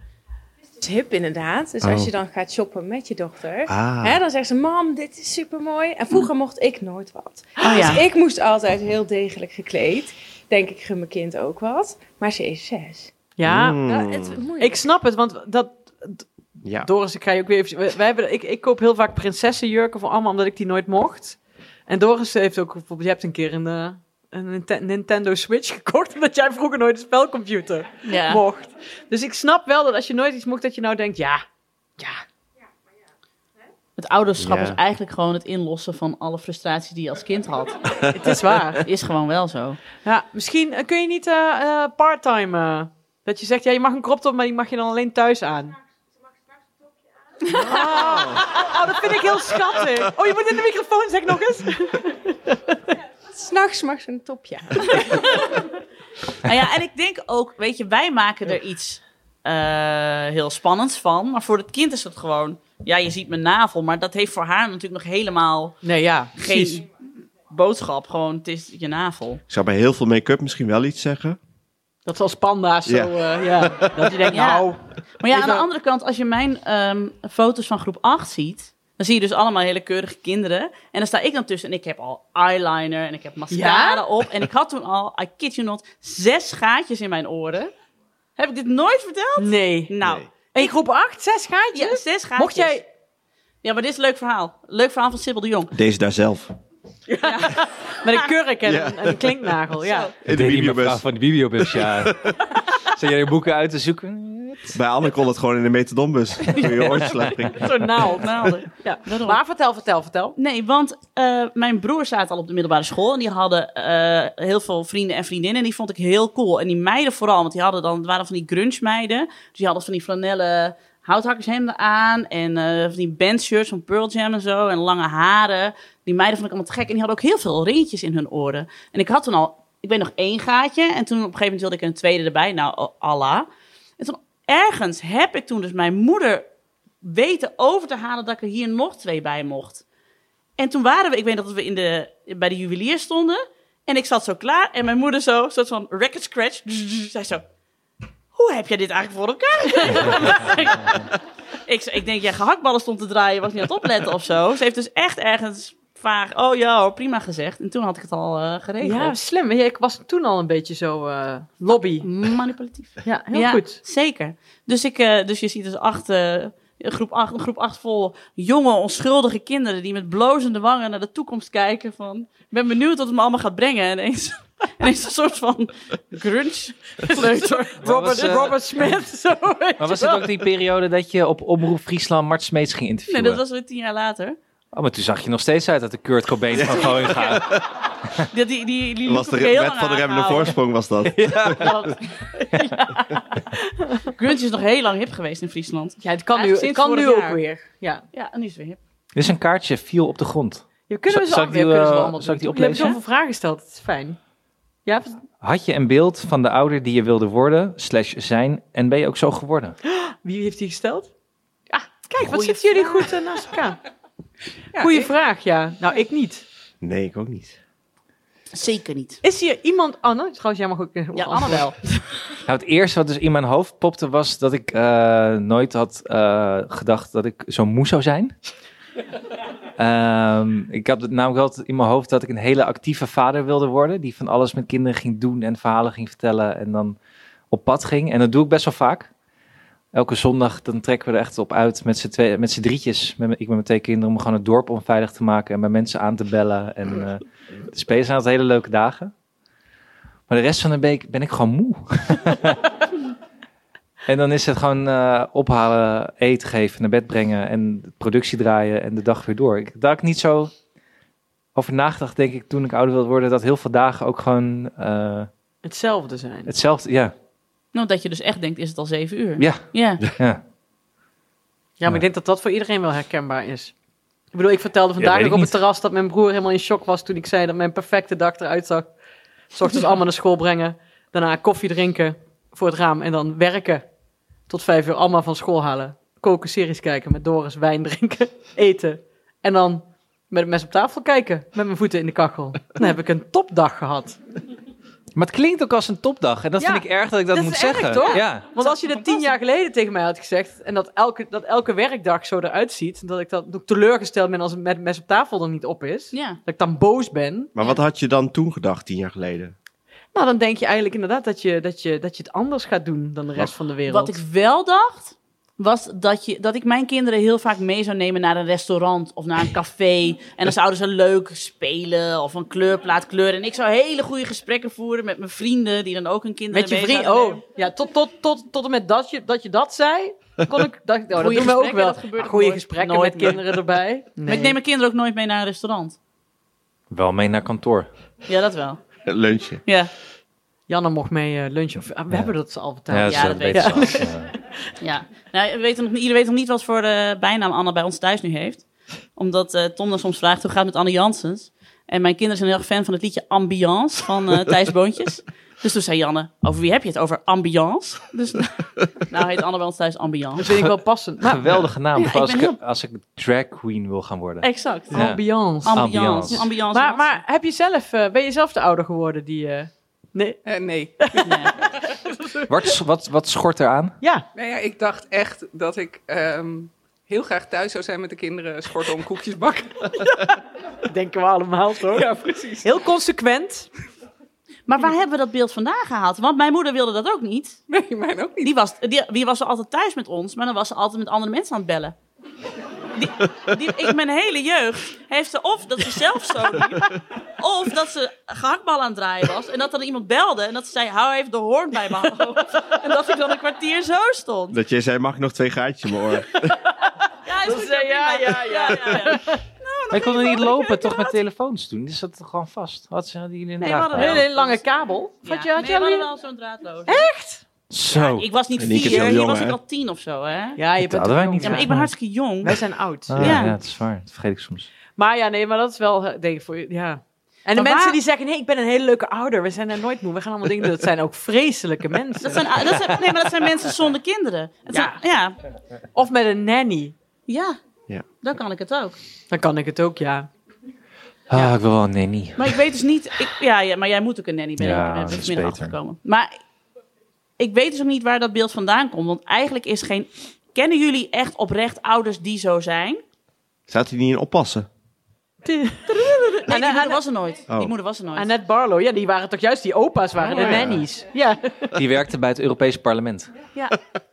Speaker 10: Het is hip inderdaad. Dus
Speaker 6: Oh.
Speaker 10: als je dan gaat shoppen met je dochter,
Speaker 6: Ah.
Speaker 10: hè, dan zegt ze, mam, dit is supermooi. En vroeger mocht ik nooit wat.
Speaker 5: Oh
Speaker 6: Ah,
Speaker 5: ja.
Speaker 10: Dus ik moest altijd heel degelijk gekleed. Denk ik gun mijn kind ook wat. Maar ze is zes.
Speaker 4: Ja,
Speaker 6: Mm.
Speaker 10: Ja, het is moeilijk.
Speaker 4: ik snap het, want dat,
Speaker 6: ja.
Speaker 4: Doris, ik ga je ook weer even... we- Wij hebben, ik, ik koop heel vaak prinsessenjurken voor allemaal, omdat ik die nooit mocht. En Doris heeft ook bijvoorbeeld... Je hebt een keer een, eh, een Ninte- Nintendo Switch gekocht... omdat jij vroeger nooit een spelcomputer
Speaker 5: Ja.
Speaker 4: mocht. Dus ik snap wel dat als je nooit iets mocht, dat je nou denkt... Ja, ja,
Speaker 5: Het ouderschap
Speaker 6: Ja.
Speaker 5: is eigenlijk gewoon het inlossen van alle frustraties die je als kind had.
Speaker 4: het is waar.
Speaker 5: Is gewoon wel zo.
Speaker 4: Ja, misschien eh, kun je niet eh eh, part-time... eh, dat je zegt, ja, je mag een crop top, maar die mag je dan alleen thuis aan. Oh, oh, dat vind ik heel schattig. Oh, je moet in de microfoon, zeg nog eens.
Speaker 10: S'nachts mag ze een topje aan.
Speaker 5: Nou ja, en ik denk ook, weet je, wij maken er iets eh, heel spannends van. Maar voor het kind is het gewoon, ja, je ziet mijn navel. Maar dat heeft voor haar natuurlijk nog helemaal
Speaker 4: Nee, ja, precies.
Speaker 5: geen boodschap. Gewoon, het is je navel.
Speaker 6: Ik zou bij heel veel make-up misschien wel iets zeggen.
Speaker 4: Dat is als panda's
Speaker 6: Ja.
Speaker 4: zo, eh, ja. Dat je denkt,
Speaker 5: Ja.
Speaker 4: nou...
Speaker 5: Maar ja,
Speaker 4: Is
Speaker 5: aan de
Speaker 4: er-
Speaker 5: andere kant, als je mijn ehm, foto's van groep 8 ziet... Dan zie je dus allemaal hele keurige kinderen. En dan sta ik dan tussen en ik heb al eyeliner en ik heb mascara
Speaker 4: Ja?
Speaker 5: op. En ik had toen al, I kid you not, zes gaatjes in mijn oren. Heb ik dit nooit verteld?
Speaker 4: Nee.
Speaker 5: Nou,
Speaker 4: En je groep 8, 6 gaatjes?
Speaker 5: ja, zes gaatjes.
Speaker 4: Mocht jij...
Speaker 5: Ja, maar dit is een leuk verhaal. Leuk verhaal van Sibyl de Jong.
Speaker 6: Deze daar zelf.
Speaker 4: Met een kurk en,
Speaker 6: Ja.
Speaker 4: een- en een klinknagel, ja.
Speaker 6: In
Speaker 3: deed
Speaker 6: de
Speaker 3: die mevrouw
Speaker 6: videobus.
Speaker 3: van de bibliobus, ja. Zijn jij je boeken uit te zoeken?
Speaker 6: Bij Anne kon het gewoon in de metadonbus. Toen je oortslag ging.
Speaker 4: Zo'n naald.
Speaker 5: Naalden.
Speaker 4: Ja.
Speaker 5: Daarom.
Speaker 4: Maar vertel, vertel, vertel.
Speaker 5: Nee, want eh, mijn broer zaten al op de middelbare school. En die hadden eh, heel veel vrienden en vriendinnen. En die vond ik heel cool. En die meiden vooral. Want die hadden dan, het waren van die grunge meiden. Dus die hadden van die flanellen houthakkershemden aan. En eh, van die bandshirts van Pearl Jam en zo. En lange haren. Die meiden vond ik allemaal te gek. En die hadden ook heel veel ringetjes in hun oren. En ik had toen al, ik weet nog één gaatje. En toen op een gegeven moment wilde ik een tweede erbij. Nou, Allah. En toen ergens heb ik toen dus mijn moeder weten over te halen dat ik er hier nog twee bij mocht. En toen waren we, ik weet dat we in de, bij de juwelier stonden. En ik zat zo klaar. En mijn moeder zo, soort van record scratch. Zij zo, hoe heb jij dit eigenlijk voor elkaar? ik, zei- ik denk, jij gehaktballen stond te draaien. Was niet aan het opletten of zo. Ze heeft dus echt ergens vaag, oh ja hoor, prima gezegd. En toen had ik het al eh,
Speaker 4: Ja,
Speaker 5: geregeld.
Speaker 4: slim. Ja, ik was toen al een beetje zo eh, lobby.
Speaker 5: Manipulatief.
Speaker 4: Ja, heel
Speaker 5: ja,
Speaker 4: goed.
Speaker 5: Zeker. Dus, ik, eh, dus je ziet dus acht, eh, groep acht, een groep acht vol jonge, onschuldige kinderen die met blozende wangen naar de toekomst kijken van ik ben benieuwd wat het me allemaal gaat brengen. En eens En is een soort van grunge kleuter.
Speaker 4: Robert,
Speaker 3: eh,
Speaker 4: Robert Smith. Zo, weet
Speaker 3: Maar
Speaker 4: je
Speaker 3: was het
Speaker 4: wel.
Speaker 3: ook die periode dat je op Omroep Friesland Mart Smeets ging
Speaker 5: Nee,
Speaker 3: interviewen?
Speaker 5: dat was weer tien jaar later.
Speaker 3: Oh, maar toen zag je nog steeds uit dat de Kurt Cobain van gewoon gaat.
Speaker 5: Die, die, die, die
Speaker 6: was
Speaker 5: liep
Speaker 6: de
Speaker 5: ook heel
Speaker 6: wet
Speaker 5: lang
Speaker 6: van de remmende
Speaker 5: aanhouden.
Speaker 6: voorsprong was dat.
Speaker 5: Want- Ja. Grunge is nog heel lang hip geweest in Friesland.
Speaker 4: Ja, het kan nu,
Speaker 5: Eigenlijk
Speaker 4: het
Speaker 5: sinds
Speaker 4: kan nu
Speaker 5: vorig
Speaker 4: ook
Speaker 5: jaar.
Speaker 4: weer. Ja.
Speaker 5: Ja, en nu is het weer hip.
Speaker 3: Dus een kaartje viel op de grond.
Speaker 4: Je kunnen we
Speaker 3: Zal-
Speaker 4: ze
Speaker 3: zal
Speaker 4: al-
Speaker 3: ik die,
Speaker 4: ja, kunnen ze
Speaker 3: eh,
Speaker 4: wel allemaal
Speaker 3: zal ik die
Speaker 4: doen. Je hebt
Speaker 3: oplezen?
Speaker 4: zoveel vragen gesteld, dat is fijn. Ja,
Speaker 3: eh, Had je een beeld van de ouder die je wilde worden, slash zijn, en ben je ook zo geworden?
Speaker 4: wie heeft die gesteld? Ja, Ah, kijk, wat
Speaker 5: Goeie
Speaker 4: zitten jullie goed eh, naast elkaar? Goeie vraag, ja. Nou, ik niet.
Speaker 6: Nee, ik ook niet.
Speaker 5: Zeker niet.
Speaker 4: Is hier iemand, Anne? Trouwens, jij mag ook... eh,
Speaker 5: Ja,
Speaker 4: antwoorden.
Speaker 5: Anne wel.
Speaker 3: Nou, het eerste wat dus in mijn hoofd popte was dat ik eh, nooit had eh, gedacht dat ik zo moe zou zijn. Ehm, ik had het namelijk altijd in mijn hoofd dat ik een hele actieve vader wilde worden. Die van alles met kinderen ging doen en verhalen ging vertellen en dan op pad ging. En dat doe ik best wel vaak. Elke zondag dan trekken we er echt op uit met z'n, twee, met z'n drietjes. Met, mijn- ik met mijn twee kinderen om gewoon het dorp onveilig te maken en bij mensen aan te bellen. En eh, dus spelen zijn altijd hele leuke dagen. Maar de rest van de week ben ik gewoon moe. En dan is het gewoon eh, ophalen, eten geven, naar bed brengen en de productie draaien en de dag weer door. Ik, daar had ik niet zo over nagedacht, denk ik, toen ik ouder wilde worden, dat heel veel dagen ook gewoon eh,
Speaker 4: Hetzelfde zijn.
Speaker 3: hetzelfde, ja,
Speaker 5: Nou, dat je dus echt denkt, is het al zeven uur?
Speaker 3: ja,
Speaker 5: Ja.
Speaker 3: ja.
Speaker 4: Ja, maar ik denk dat dat voor iedereen wel herkenbaar is. Ik bedoel, ik vertelde
Speaker 3: Ja,
Speaker 4: vandaag
Speaker 3: weet
Speaker 4: nog
Speaker 3: ik
Speaker 4: op het
Speaker 3: niet.
Speaker 4: terras dat mijn broer helemaal in shock was toen ik zei dat mijn perfecte dag eruit zag. 's ochtends allemaal naar school brengen, daarna koffie drinken voor het raam en dan werken tot vijf uur allemaal van school halen. Koken, series kijken met Doris, wijn drinken, eten en dan met het mes op tafel kijken met mijn voeten in de kachel. Dan heb ik een topdag gehad.
Speaker 3: Maar het klinkt ook als een topdag en dat
Speaker 4: Ja,
Speaker 3: vind ik erg dat ik dat,
Speaker 4: dat
Speaker 3: moet
Speaker 4: is erg,
Speaker 3: zeggen.
Speaker 4: toch?
Speaker 3: Ja.
Speaker 4: Want als je dit tien jaar geleden tegen mij had gezegd en dat elke, dat elke werkdag zo eruit ziet, dat ik dat dat ik teleurgesteld ben als het met mes op tafel er niet op is.
Speaker 5: Ja.
Speaker 4: dat ik dan boos ben.
Speaker 6: Maar wat had je dan toen gedacht, tien jaar geleden?
Speaker 4: Nou, dan denk je eigenlijk inderdaad dat je, dat je, dat je het anders gaat doen dan de rest van de wereld.
Speaker 5: Wat ik wel dacht, was dat, je, dat ik mijn kinderen heel vaak mee zou nemen naar een restaurant of naar een café. En dan zouden ze leuk spelen of een kleurplaat kleuren. En ik zou hele goede gesprekken voeren met mijn vrienden, die dan ook hun kinderen
Speaker 4: Met je
Speaker 5: mee
Speaker 4: vriend.
Speaker 5: zouden
Speaker 4: Oh, ja, tot, tot, tot, tot en met dat je dat, je dat zei. Kon ik, dacht, ik, oh, dat
Speaker 5: Goeie
Speaker 4: doen we ook
Speaker 5: gesprekken,
Speaker 4: wel.
Speaker 5: dat gebeurt ook
Speaker 4: Goede
Speaker 5: nooit.
Speaker 4: gesprekken
Speaker 5: Nooit
Speaker 4: met
Speaker 5: meer.
Speaker 4: kinderen erbij.
Speaker 5: nemen. Maar ik neem mijn kinderen ook nooit mee naar een restaurant.
Speaker 3: Wel mee naar kantoor.
Speaker 5: Ja, dat wel.
Speaker 6: Het lunchje.
Speaker 5: Ja,
Speaker 4: Janne mocht mee eh, lunchen. Of, ah, we hebben dat al verteld.
Speaker 3: Ja,
Speaker 5: dat
Speaker 3: zo
Speaker 5: weet
Speaker 3: weet
Speaker 5: ik.
Speaker 3: ze al. Ja.
Speaker 5: ja. Nou, we weten nog, niet- iedereen weet nog niet wat voor eh, bijnaam Anna bij ons thuis nu heeft. Omdat eh, Tom dan soms vraagt hoe gaat het met Anne Janssens. En mijn kinderen zijn heel erg fan van het liedje Ambiance van eh Thijs Boontjes. Dus toen zei Janne, over wie heb je het? Over Ambiance? Dus nou heet Anne bij ons thuis Ambiance.
Speaker 4: Dat vind ik wel passend. Maar,
Speaker 3: Geweldige naam
Speaker 5: Ja,
Speaker 3: voor als,
Speaker 5: ik
Speaker 3: ik,
Speaker 5: ben
Speaker 3: als ik drag queen wil gaan worden.
Speaker 5: Exact.
Speaker 3: Ja.
Speaker 4: ambiance.
Speaker 5: Ambiance.
Speaker 3: Ambiance.
Speaker 5: Ambiance.
Speaker 4: Maar, maar heb je zelf, eh, ben je zelf de ouder geworden die... eh, nee.
Speaker 11: Eh, nee.
Speaker 5: Ja.
Speaker 3: Wat, wat, wat schort er aan?
Speaker 4: Ja,
Speaker 11: Nou ja, ik dacht echt dat ik ehm, heel graag thuis zou zijn met de kinderen, schorten om koekjes bakken.
Speaker 4: dat denken we allemaal toch?
Speaker 11: Ja, precies.
Speaker 4: Heel consequent.
Speaker 5: Maar waar hebben we dat beeld vandaan gehaald? Want mijn moeder wilde dat ook niet.
Speaker 11: Nee, mijn ook niet.
Speaker 5: Die was, die, die was altijd thuis met ons, maar dan was ze altijd met andere mensen aan het bellen. Die, die, ik, mijn hele jeugd heeft ze of dat ze zelf zo liep, of dat ze gehaktbal aan het draaien was. En dat dan iemand belde en dat ze zei, hou even de hoorn bij mijn hoofd. En dat ik dan een kwartier zo stond.
Speaker 6: Dat jij zei, mag ik nog twee gaatjes in mijn oor?
Speaker 5: Ja, is
Speaker 4: Dat
Speaker 5: goed,
Speaker 4: ze- ja,
Speaker 5: prima.
Speaker 4: ja,
Speaker 5: ja, ja.
Speaker 3: Wij konden niet
Speaker 5: wel
Speaker 3: lopen, toch met telefoons toen. Die zat er gewoon vast. Had ze die in een
Speaker 5: Nee,
Speaker 3: draagbaar?
Speaker 5: we hadden
Speaker 4: Een hele lange kabel. Had je,
Speaker 5: Ja,
Speaker 4: had
Speaker 5: nee,
Speaker 4: je
Speaker 5: we hadden
Speaker 4: alleen-
Speaker 5: wel zo'n draadloos.
Speaker 3: Zo.
Speaker 5: Ik was niet
Speaker 6: En ik is
Speaker 5: vier,
Speaker 6: heel
Speaker 5: hier
Speaker 6: jong,
Speaker 5: was ik
Speaker 6: hè?
Speaker 5: al tien of zo, hè?
Speaker 4: Ja, je
Speaker 3: Dat
Speaker 4: bent
Speaker 3: hadden wij
Speaker 4: ook
Speaker 3: niet.
Speaker 5: Ja, maar
Speaker 4: jong.
Speaker 5: ik ben hartstikke jong.
Speaker 4: Wij zijn oud.
Speaker 3: Ah,
Speaker 5: Ja.
Speaker 3: ja. dat is waar. Dat vergeet ik soms.
Speaker 4: Maar ja, nee, maar dat is wel, eh, denk ik, voor je- ja. En de
Speaker 5: Maar
Speaker 4: mensen
Speaker 5: waar-
Speaker 4: die zeggen, nee, ik ben een hele leuke ouder, we zijn er nooit moe, we gaan allemaal dingen doen. Dat zijn ook vreselijke
Speaker 5: Dat
Speaker 4: mensen.
Speaker 5: zijn, dat zijn- nee, maar dat zijn mensen zonder kinderen. Het
Speaker 4: Ja.
Speaker 5: Zijn, ja.
Speaker 4: Of met een nanny.
Speaker 5: Ja.
Speaker 6: Ja.
Speaker 5: Dan kan ik het ook.
Speaker 4: Dan kan ik het ook, ja.
Speaker 3: Ah, ik wil wel een nanny.
Speaker 5: Maar ik weet dus niet... Ik, ja, ja, maar jij moet ook een nanny ben ik-
Speaker 3: Ja,
Speaker 5: daar ben ik
Speaker 3: dat is
Speaker 5: vanmiddag
Speaker 3: beter.
Speaker 5: achtergekomen. Maar ik weet dus ook niet waar dat beeld vandaan komt. Want eigenlijk is geen... Kennen jullie echt oprecht ouders die zo zijn?
Speaker 6: Staat hij niet in oppassen?
Speaker 4: Nou,
Speaker 5: Nee, die moeder was er nooit.
Speaker 6: Oh.
Speaker 5: Die moeder was er nooit.
Speaker 4: Annette Barlow, ja, die waren toch juist die opa's, waren
Speaker 5: Oh,
Speaker 4: de
Speaker 5: ja.
Speaker 4: nannies. Ja.
Speaker 3: Die werkte bij het Europese parlement.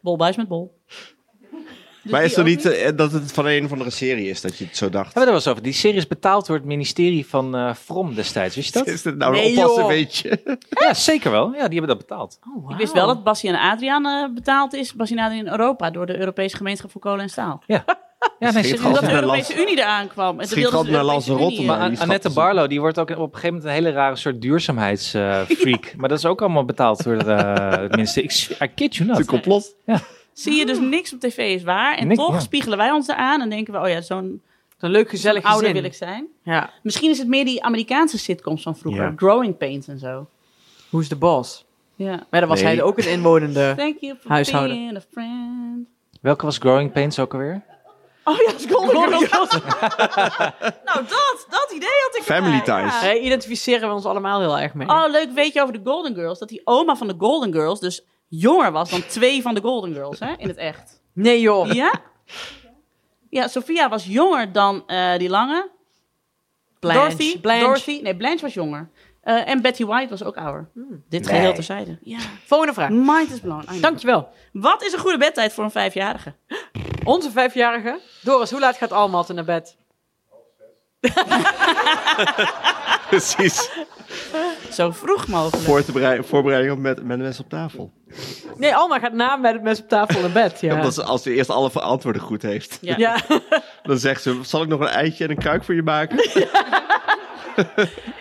Speaker 5: Bolbuis met bol.
Speaker 6: maar
Speaker 3: die
Speaker 6: is er
Speaker 3: ook
Speaker 6: niet eh, dat het van een of andere serie is dat je het zo dacht?
Speaker 3: Hebben we er wel eens over? Die serie is betaald door het ministerie van eh From destijds, wist je dat?
Speaker 6: Is dit nou een Nee, oppassen joh. beetje?
Speaker 3: Ja, zeker wel. Ja, die hebben dat betaald.
Speaker 5: Ik wist wel dat Bassie en Adriaan eh, betaald is. Bassie en Adriaan in Europa door de Europese gemeenschap voor kolen en staal.
Speaker 3: Ja.
Speaker 5: Ja, nee,
Speaker 3: Schiet
Speaker 5: serieus,
Speaker 3: gewoon
Speaker 5: dat de
Speaker 3: naar
Speaker 5: Europese Unie eraan kwam. En toen wilden ze de Europese Unie eh, in.
Speaker 3: Maar An- Annette Barlo, die wordt ook op een gegeven moment een hele rare soort duurzaamheidsfreak. Maar dat is ook allemaal betaald door eh, het ministerie. Ik, I kid you not. Het
Speaker 6: complot.
Speaker 3: Ja.
Speaker 5: Zie je dus niks op tv is waar. En
Speaker 3: Niks,
Speaker 5: toch
Speaker 3: ja.
Speaker 5: spiegelen wij ons eraan en denken we, oh ja, zo'n
Speaker 4: leuk gezellig
Speaker 5: zo'n ouder
Speaker 4: gezin.
Speaker 5: wil ik zijn.
Speaker 4: Ja.
Speaker 5: Misschien is het meer die Amerikaanse sitcoms van vroeger.
Speaker 4: Ja.
Speaker 5: Growing Pains en zo.
Speaker 4: Hoe is de boss?
Speaker 5: Ja.
Speaker 4: Maar dan was
Speaker 3: Nee.
Speaker 4: hij ook een inwonende
Speaker 5: Thank you for
Speaker 4: huishouden.
Speaker 5: being a friend.
Speaker 3: Welke was Growing Pains ook alweer?
Speaker 5: Oh ja, dat is Golden Girls. nou, dat, dat idee had ik
Speaker 6: Family
Speaker 5: erbij,
Speaker 6: Ties.
Speaker 5: ja.
Speaker 4: Hey, identificeren we ons allemaal heel erg mee.
Speaker 5: Oh, leuk weet je over de Golden Girls. Dat die oma van de Golden Girls dus jonger was dan twee van de Golden Girls hè, in het echt.
Speaker 4: Nee joh.
Speaker 5: Ja? Ja, Sophia was jonger dan eh, die lange.
Speaker 4: Blanche.
Speaker 5: Dorothy.
Speaker 4: Blanche.
Speaker 5: Dorothy. Nee, Blanche was jonger. Eh, en Betty White was ook ouder. Dit
Speaker 4: Hmm. Nee.
Speaker 5: geheel terzijde. Ja.
Speaker 4: Volgende vraag.
Speaker 5: Mind is blown. I know.
Speaker 4: Dankjewel.
Speaker 5: Wat is een goede bedtijd voor een vijfjarige?
Speaker 4: Onze vijfjarige. Doris, hoe laat gaat Almatte naar bed?
Speaker 6: Precies.
Speaker 5: Zo vroeg mogelijk.
Speaker 6: Voorbereiding, voorbereiding op met, met mensen op tafel.
Speaker 4: Nee, Alma gaat na met het mes op tafel naar bed. Ja.
Speaker 6: Omdat ze, als ze eerst alle antwoorden goed heeft,
Speaker 4: Ja.
Speaker 6: dan zegt ze: Zal ik nog een eitje en een kuik voor je maken?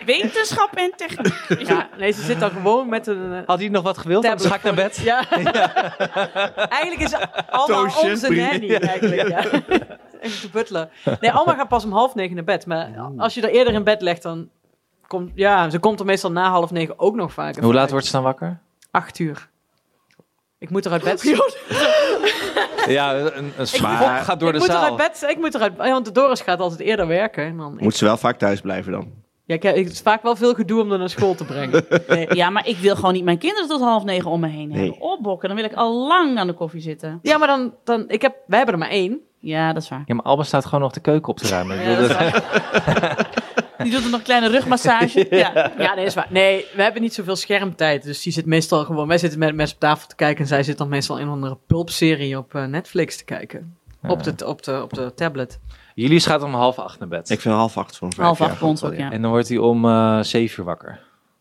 Speaker 5: Wetenschap en techniek.
Speaker 4: Ja, nee, ze zit dan gewoon met een... eh,
Speaker 3: Had hij nog wat gewild? Anders ga ik naar bed.
Speaker 4: Ja. eigenlijk is Alma
Speaker 3: Toosje,
Speaker 4: onze
Speaker 3: brief.
Speaker 4: nanny.
Speaker 3: Ja.
Speaker 4: Eigenlijk, ja. Even de butler. Nee, Alma gaat pas om half negen naar bed. Maar
Speaker 3: Hmm.
Speaker 4: als je er eerder in bed legt, dan... Komt, ja, ze komt er meestal na half negen ook nog vaker.
Speaker 3: Hoe laat wordt ze dan wakker?
Speaker 4: Acht uur. Ik moet er uit bed. Ik
Speaker 3: Ja, een, een
Speaker 6: Maar-
Speaker 3: schop gaat door de
Speaker 4: moet er uit
Speaker 3: zaal.
Speaker 4: bed. Ik moet eruit. ja, Want Doris gaat altijd eerder werken. En dan,
Speaker 6: Moet ze wel vaak thuis blijven dan?
Speaker 4: ja, ik, het is vaak wel veel gedoe om er naar school te brengen.
Speaker 5: Ja, maar ik wil gewoon niet mijn kinderen tot half negen om me heen
Speaker 6: Nee.
Speaker 5: hebben. Opbokken, dan wil ik al lang aan de koffie zitten.
Speaker 4: Ja, maar dan, dan ik heb, wij hebben er maar één.
Speaker 5: Ja, dat is waar.
Speaker 3: Ja, maar Alba staat gewoon nog de keuken op te ruimen. Ik
Speaker 4: Ja,
Speaker 3: bedoel, dus-
Speaker 4: dat is
Speaker 3: dat-
Speaker 5: Die doet er nog een kleine rugmassage. Ja.
Speaker 4: Ja, nee, is waar. Nee, we hebben niet zoveel schermtijd. Dus die zit meestal gewoon... Wij zitten met mensen op tafel te kijken... en zij zit dan meestal in een andere pulpserie op eh, Netflix te kijken.
Speaker 3: Ja.
Speaker 4: Op, de, op, de, op de tablet.
Speaker 3: Jullie gaat om half acht naar bed. Ik
Speaker 6: vind half acht voor
Speaker 5: Half acht voor ons ook, ja.
Speaker 3: En dan wordt hij om eh, zeven uur wakker.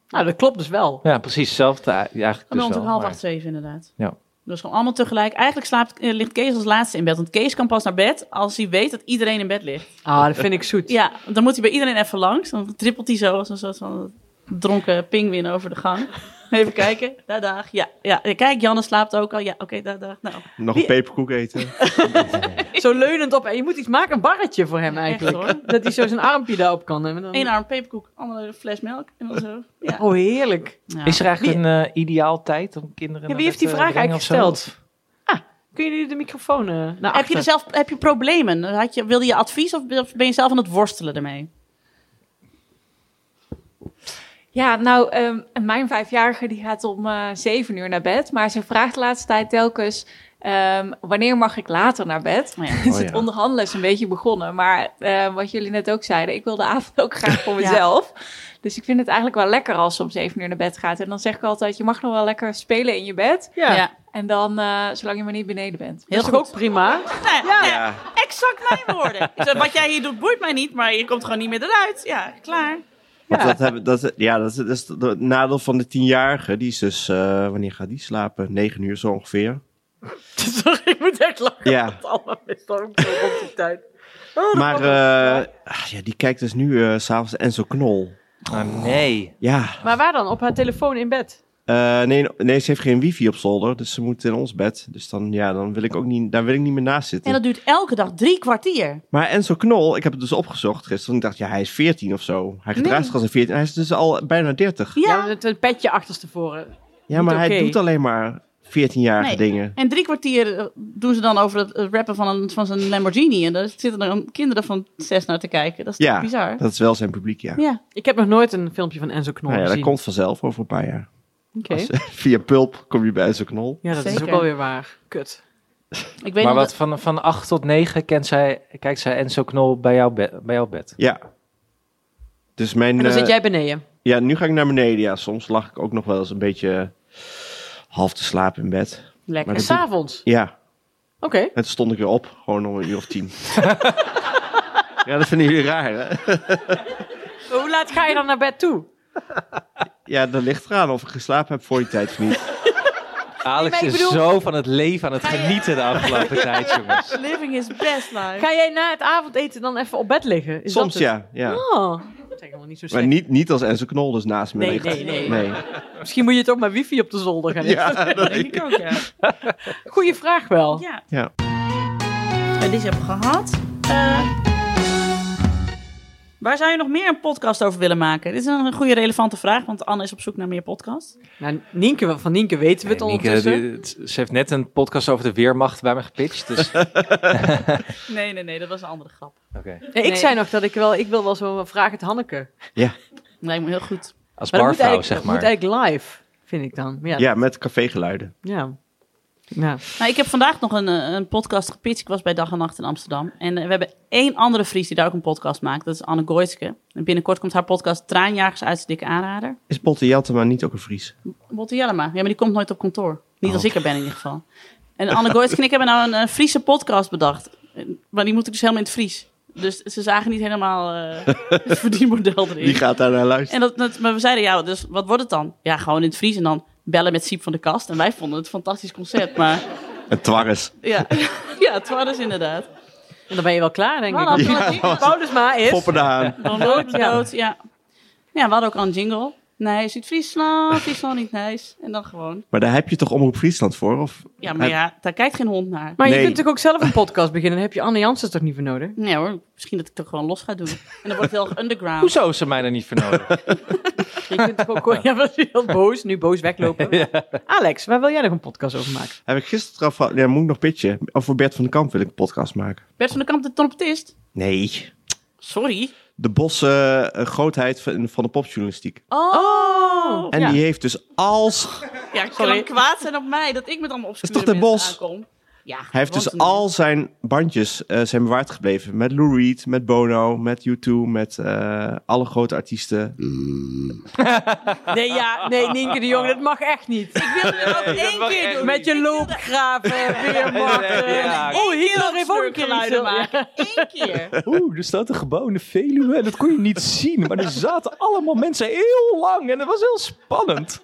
Speaker 4: Nou, dat klopt dus wel.
Speaker 3: Ja, precies. Hetzelfde eh, eigenlijk
Speaker 5: Bij
Speaker 3: dus
Speaker 5: ons ook
Speaker 3: wel,
Speaker 5: half
Speaker 3: maar-
Speaker 5: acht, zeven inderdaad.
Speaker 3: Ja.
Speaker 5: Dus gewoon allemaal tegelijk. Eigenlijk slaapt, eh, ligt Kees als laatste in bed. Want Kees kan pas naar bed als hij weet dat iedereen in bed ligt.
Speaker 4: Ah, dat vind ik zoet.
Speaker 5: Ja, dan moet hij bij iedereen even langs. Dan trippelt hij zo als een soort van dronken pinguïn over de gang. Even kijken. Daar, dag. Ja, ja. Kijk, Janne slaapt ook al. Ja, oké, daar, dag. Nou,
Speaker 6: Nog
Speaker 5: Wie-
Speaker 6: een peperkoek eten?
Speaker 4: Zo leunend op. En je moet iets maken, een barretje voor hem eigenlijk.
Speaker 5: hoor.
Speaker 4: Dat hij zo zijn armpje daarop kan nemen. Dan...
Speaker 5: één arm peperkoek, andere fles melk. En dan zo. Ja.
Speaker 4: Oh, heerlijk.
Speaker 3: Is er eigenlijk een eh, ideaal tijd om kinderen
Speaker 4: Ja,
Speaker 3: naar
Speaker 4: wie heeft
Speaker 3: bed eh,
Speaker 4: die
Speaker 3: te
Speaker 4: vraag
Speaker 3: brengen
Speaker 4: eigenlijk
Speaker 3: of zo?
Speaker 4: gesteld? eh, Ah, kun jullie de microfoon eh naar
Speaker 5: heb je
Speaker 4: achter?
Speaker 5: er zelf heb je problemen? Had je, wilde je advies of ben je zelf aan het worstelen ermee?
Speaker 12: Ja, nou, ehm, mijn vijfjarige die gaat om eh, zeven uur naar bed. Maar ze vraagt de laatste tijd telkens, ehm, wanneer mag ik later naar bed? dus
Speaker 5: Oh
Speaker 12: het
Speaker 5: ja.
Speaker 12: onderhandelen is een beetje begonnen. Maar eh, wat jullie net ook zeiden, ik wil de avond ook graag voor mezelf. Dus ik vind het eigenlijk wel lekker als ze om zeven uur naar bed gaat. En dan zeg ik altijd, je mag nog wel lekker spelen in je bed.
Speaker 4: Ja. Ja.
Speaker 12: En dan, eh, zolang je maar niet beneden bent.
Speaker 5: Heel
Speaker 12: Dus
Speaker 5: goed.
Speaker 12: ook
Speaker 4: prima.
Speaker 5: ja. Exact mijn woorden. Ik zeg, wat jij hier doet boeit mij niet, maar je komt gewoon niet meer eruit. Ja, klaar.
Speaker 6: Want Dat hebben, dat, ja, dat is, dat is het nadeel van de tienjarige. Die is dus, eh, wanneer gaat die slapen? Negen uur zo ongeveer.
Speaker 4: Sorry, ik moet echt lachen.
Speaker 6: Ja.
Speaker 4: want Alma is dan ook zo rond die tijd. Oh, dat
Speaker 6: Maar
Speaker 4: mag
Speaker 6: eh, ah, ja, die kijkt dus nu eh, s s'avonds Enzo Knol.
Speaker 3: Oh nee.
Speaker 6: Ja.
Speaker 4: Maar waar dan? Op haar telefoon in bed?
Speaker 6: Eh, nee, nee, ze heeft geen wifi op zolder, dus ze moet in ons bed. Dus dan, ja, dan wil ik ook niet, daar wil ik niet meer naast zitten.
Speaker 5: En dat duurt elke dag drie kwartier.
Speaker 6: Maar Enzo Knol, ik heb het dus opgezocht gisteren. want Ik dacht, ja, hij is 14 of zo. Hij gedraagt zich als een 14. Hij is dus al bijna 30.
Speaker 4: Ja, met een petje achterstevoren.
Speaker 6: Ja, maar hij doet
Speaker 4: al.
Speaker 6: alleen maar 14-jarige
Speaker 5: Nee.
Speaker 6: dingen.
Speaker 5: En drie kwartier eh, doen ze dan over het eh, rappen van, een, van zijn Lamborghini. En daar zitten dan kinderen van zes naar te kijken. Dat is
Speaker 6: Ja,
Speaker 5: toch bizar?
Speaker 6: dat is wel zijn publiek, ja.
Speaker 4: Ik heb nog nooit een filmpje van Enzo Knol
Speaker 6: Nou ja, dat
Speaker 4: gezien.
Speaker 6: komt vanzelf over een paar jaar.
Speaker 4: Oké.
Speaker 6: Als- Via Pulp kom je bij Enzo Knol.
Speaker 4: Ja, dat is ook
Speaker 5: Zeker.
Speaker 4: alweer waar. Kut.
Speaker 5: Ik
Speaker 3: maar wat van, van 8 tot 9 kent zij, kijkt zij Enzo Knol bij jouw, be- bij jouw bed.
Speaker 6: Ja. Dus mijn...
Speaker 4: En dan
Speaker 6: eh,
Speaker 4: zit jij beneden.
Speaker 6: Ja, nu ga ik naar beneden. Ja, soms lag ik ook nog wel eens een beetje half te slapen in bed.
Speaker 4: Lekker.
Speaker 6: Maar
Speaker 4: En
Speaker 6: dat-
Speaker 4: s'avonds?
Speaker 6: Ja. En toen stond ik weer op, gewoon om een uur of tien. ja, dat vinden jullie raar, hè?
Speaker 4: Hoe laat ga je dan naar bed toe?
Speaker 6: Ja, dat ligt eraan of ik geslapen heb voor die tijd of niet.
Speaker 3: Alex
Speaker 4: Nee,
Speaker 3: is
Speaker 4: maar ik bedoel-
Speaker 3: zo van het leven aan het genieten de afgelopen tijd, jongens.
Speaker 5: Living is best life.
Speaker 4: Ga jij na het avondeten dan even op bed liggen? Is
Speaker 6: Soms
Speaker 4: dat het?
Speaker 6: ja, ja.
Speaker 4: Oh. Dat is helemaal niet zo
Speaker 6: Maar
Speaker 4: slecht.
Speaker 6: niet, niet als Enzo Knol dus naast me
Speaker 4: Nee,
Speaker 6: ligt.
Speaker 4: nee, nee. Misschien moet je toch maar wifi op de zolder gaan
Speaker 6: Ja,
Speaker 4: instellen.
Speaker 6: dat
Speaker 4: denk ik ook, ja. Goeie vraag wel.
Speaker 5: Ja.
Speaker 6: Ja.
Speaker 5: En deze hebben we gehad. Eh, waar zou je nog meer een podcast over willen maken? Dit is een goede relevante vraag, want Anne is op zoek naar meer podcasts.
Speaker 4: Nou, Nienke, van Nienke weten we het
Speaker 3: Nienke,
Speaker 4: ondertussen.
Speaker 3: die- het- ze heeft net een podcast over de Weermacht bij me gepitcht. Dus...
Speaker 5: Nee, nee, nee, dat was een andere grap.
Speaker 3: Oké.
Speaker 4: Nee, ik zei nog dat ik wel, ik wil wel zo'n vraag het Hanneke.
Speaker 6: Ja.
Speaker 5: Lijkt me heel goed.
Speaker 3: Als
Speaker 4: Maar dat moet
Speaker 3: barvrouw,
Speaker 4: eigenlijk-
Speaker 3: zeg
Speaker 4: dat
Speaker 3: maar.
Speaker 4: moet eigenlijk live, vind ik dan. Ja.
Speaker 6: Ja, met cafégeluiden.
Speaker 4: ja. ja.
Speaker 5: Nou, ik heb vandaag nog een, eh, een podcast gepitcht. Ik was bij Dag en Nacht in Amsterdam. En eh, we hebben één andere Fries die daar ook een podcast maakt. Dat is Anne Gooitske. En binnenkort komt haar podcast Traanjagers uit de Dikke Aanrader.
Speaker 6: Is Botte Jeltema niet ook een Fries?
Speaker 5: Botte Jellema. Ja, maar die komt nooit op kantoor. Niet
Speaker 3: Oh.
Speaker 5: als ik er ben in ieder geval. En Anne Gooitske en ik hebben nou een, eh, Friese podcast bedacht. En- Maar die moet ik dus helemaal in het Fries. Dus ze zagen niet helemaal eh, het verdienmodel erin.
Speaker 6: Wie gaat daar naar
Speaker 5: En
Speaker 6: luisteren?
Speaker 5: dat, dat- maar we zeiden, ja, dus wat wordt het dan? Ja, gewoon in het Fries en dan bellen met Siep van de Kast. En wij vonden het een fantastisch concept, maar...
Speaker 6: Een twarres.
Speaker 5: Ja, ja het waren dus inderdaad.
Speaker 4: En dan ben je wel klaar, denk
Speaker 5: Voilà,
Speaker 4: ik.
Speaker 5: toen het
Speaker 4: Ja,
Speaker 5: ding
Speaker 4: was- Paulusma is...
Speaker 6: Poppen aan.
Speaker 5: Dan rood,
Speaker 4: Ja.
Speaker 5: rood, ja. Ja, we hadden ook al een jingle. Nee, Zuid-Friesland, Friesland niet nice. En dan gewoon...
Speaker 6: Maar daar heb je toch Omroep Friesland voor? Of?
Speaker 5: Ja, maar ja, daar kijkt geen hond naar.
Speaker 4: Maar je
Speaker 6: Nee.
Speaker 4: kunt natuurlijk ook zelf een podcast beginnen. Dan heb je Anne Jansen toch niet voor nodig?
Speaker 5: Nee hoor, misschien dat ik het ook gewoon los ga doen. En dan wordt het heel erg underground.
Speaker 3: Hoezo is ze mij daar niet voor nodig?
Speaker 4: Je kunt toch ook gewoon... Ja, was je heel boos. Nu boos weglopen. Alex, waar wil jij nog een podcast over maken?
Speaker 6: Heb ik gisteren trouwens... van- Ja, moet ik nog pitchen? Of voor Bert van den Kamp wil ik een podcast maken.
Speaker 5: Bert van de Kamp, de trompetist.
Speaker 6: Nee.
Speaker 5: Sorry.
Speaker 6: De bosse eh, grootheid van, van de popjournalistiek.
Speaker 5: Oh!
Speaker 6: En
Speaker 5: ja.
Speaker 6: die heeft dus als...
Speaker 5: Ja, ik kan
Speaker 6: Sorry.
Speaker 5: hem kwaad zijn op mij dat ik met allemaal
Speaker 6: toch
Speaker 5: obscure
Speaker 6: de
Speaker 5: mensen
Speaker 6: Bos?
Speaker 5: aankom. Ja,
Speaker 6: Hij heeft
Speaker 5: want
Speaker 6: dus
Speaker 5: een-
Speaker 6: al zijn bandjes eh, zijn bewaard gebleven. Met Lou Reed, met Bono, met U2, met eh, alle grote artiesten.
Speaker 4: Nee, ja, nee, Nienke de Jong, dat mag echt niet. Ik wil het ook één keer doen. Met je loopgraven, weermachten.
Speaker 3: Ja,
Speaker 4: Oh, Hitler
Speaker 5: dat
Speaker 4: heeft ook een keer
Speaker 5: snurkgeluiden
Speaker 4: iets-
Speaker 5: maken. Eén keer.
Speaker 3: Oeh, er staat een gebouw in de Veluwe en dat kon je niet zien. Maar er zaten allemaal mensen heel lang en dat was heel spannend.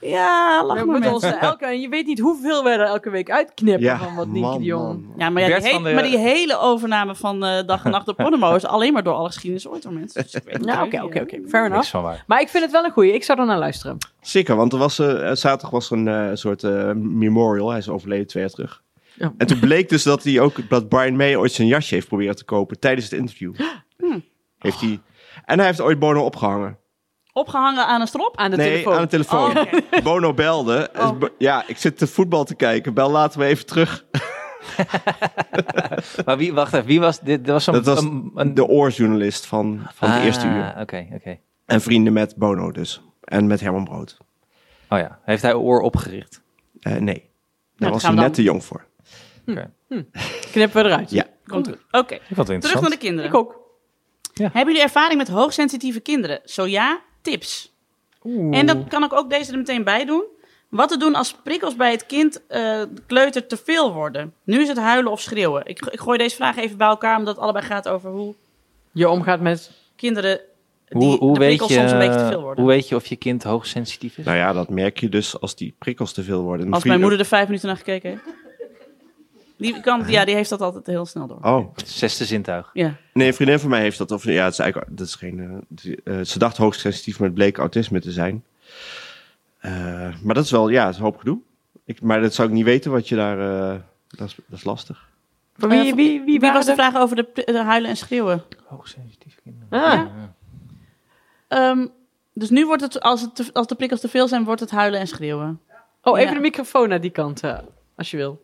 Speaker 5: Ja, lach maar
Speaker 4: We moeten
Speaker 5: met
Speaker 4: ons elke, en je weet niet hoeveel we er elke week uitknippen
Speaker 6: Ja,
Speaker 4: van wat Nienke
Speaker 6: man,
Speaker 4: de Jong...
Speaker 6: man.
Speaker 5: Ja, maar, ja,
Speaker 3: Bert
Speaker 5: die,
Speaker 3: van
Speaker 5: hele,
Speaker 3: de-
Speaker 5: maar die hele overname van eh, Dag en Nacht door Podemo is alleen maar door alle geschiedenis ooit door mensen. Dus ik weet het
Speaker 4: Nou,
Speaker 5: ook
Speaker 4: oké,
Speaker 5: niet,
Speaker 4: oké,
Speaker 5: hè.
Speaker 4: oké. Fair
Speaker 3: Niks
Speaker 4: enough.
Speaker 3: van waar.
Speaker 4: Maar ik vind het wel een goeie. Ik zou er naar luisteren.
Speaker 6: Zeker, want er was, eh, zaterdag was er een eh, soort eh, memorial. Hij is overleden twee jaar terug.
Speaker 4: Ja.
Speaker 6: En toen bleek dus dat, hij ook, dat Brian May ooit zijn jasje heeft proberen te kopen tijdens het interview.
Speaker 5: hmm.
Speaker 6: Heeft hij, en hij heeft ooit Bono opgehangen.
Speaker 5: Opgehangen aan een strop?
Speaker 4: Aan de
Speaker 6: nee,
Speaker 4: telefoon.
Speaker 6: aan de telefoon.
Speaker 5: Oh,
Speaker 6: Bono belde. Dus Bo- Ja, ik zit te voetbal te kijken. Bel later weer even terug.
Speaker 3: Maar wie, wacht even, wie was dit? Er was zo'n...
Speaker 6: Dat was
Speaker 3: een- um, een-
Speaker 6: de oorjournalist van, van het
Speaker 3: Ah,
Speaker 6: eerste uur.
Speaker 3: Oké, oké.
Speaker 6: En vrienden met Bono dus. En met Herman Brood.
Speaker 3: Oh ja, heeft hij oor opgericht?
Speaker 6: Eh, nee, daar was
Speaker 5: dat Nou, gaan
Speaker 6: hij
Speaker 5: we
Speaker 6: net
Speaker 5: dan-
Speaker 6: te jong voor.
Speaker 4: Hm. Knippen we eruit.
Speaker 6: Ja.
Speaker 5: Komt goed. Oké,
Speaker 3: Ik vond het
Speaker 5: terug naar
Speaker 3: interessant.
Speaker 5: de kinderen.
Speaker 4: Ik ook.
Speaker 5: Hebben jullie ervaring met hoogsensitieve kinderen? Zo ja, tips. En dan kan ik ook deze er meteen bij doen. Wat te doen als prikkels bij het kind eh, de kleuter te veel worden? Nu is het huilen of schreeuwen. Ik, ik gooi deze vraag even bij elkaar, omdat het allebei gaat over hoe
Speaker 4: Je omgaat met...
Speaker 5: kinderen die
Speaker 3: Hoe, hoe,
Speaker 5: de
Speaker 3: weet
Speaker 5: prikkels
Speaker 3: je,
Speaker 5: soms een beetje te veel worden.
Speaker 3: hoe weet je of je kind hoogsensitief is?
Speaker 6: Nou ja, dat merk je dus als die prikkels te veel worden. Dan
Speaker 5: Als
Speaker 6: kun je
Speaker 5: mijn moeder er vijf minuten naar gekeken heeft. Die, kan, ja, die heeft dat altijd heel snel door.
Speaker 6: ook- Oh,
Speaker 3: Zesde zintuig.
Speaker 5: Ja.
Speaker 6: nee, een vriendin van mij heeft dat. Of, ja, het is eigenlijk, dat is geen, eh, die- eh, ze dacht hoogsensitief, maar het bleek autisme te zijn. Eh, maar dat is wel, ja, het is een hoop gedoe. Ik, maar dat zou ik niet weten wat je daar... eh, dat, is, dat is lastig.
Speaker 4: Van Wie, wie, wie,
Speaker 5: Eh, Wie was de
Speaker 4: waren
Speaker 5: vraag over de, pri- de huilen en schreeuwen?
Speaker 3: Hoogsensitief kinderen.
Speaker 4: er? Ah,
Speaker 5: Ehm, dus nu wordt het, als, het te- als de prikkels te veel zijn, wordt het huilen en schreeuwen.
Speaker 4: Oh, even
Speaker 5: Ja.
Speaker 4: de microfoon naar die kant, eh, als je wil.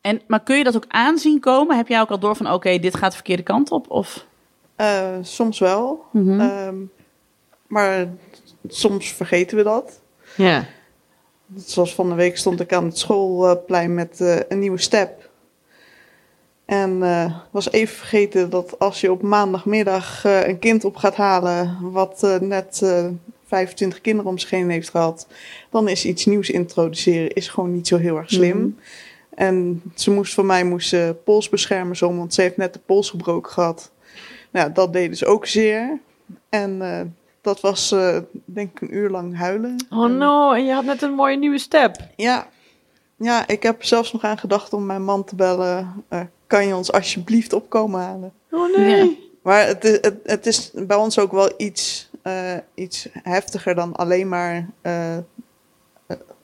Speaker 5: En, maar kun je dat ook aanzien komen? Heb jij ook al door van, oké, dit gaat de verkeerde kant op? Of,
Speaker 13: Eh, soms wel.
Speaker 5: Mhm.
Speaker 13: Ehm, maar soms vergeten we dat.
Speaker 4: Ja.
Speaker 13: Zoals van de week stond ik aan het schoolplein met eh, een nieuwe step. En eh, was even vergeten dat als je op maandagmiddag eh, een kind op gaat halen wat eh, net eh, 25 kinderen om zich heen heeft gehad, dan is iets nieuws introduceren is gewoon niet zo heel erg slim.
Speaker 5: Mhm.
Speaker 13: En ze moest van mij moest ze pols beschermen om, want ze heeft net de pols gebroken gehad. Nou, dat deed dus ook zeer. En eh, dat was eh, denk ik een uur lang huilen.
Speaker 4: Oh no, en je had net een mooie nieuwe step.
Speaker 13: Ja. Ja, ik heb er zelfs nog aan gedacht om mijn man te bellen. eh, kan je ons alsjeblieft opkomen halen?
Speaker 4: Oh nee.
Speaker 13: Maar het, i- het, het is bij ons ook wel iets, eh, iets heftiger dan alleen maar eh,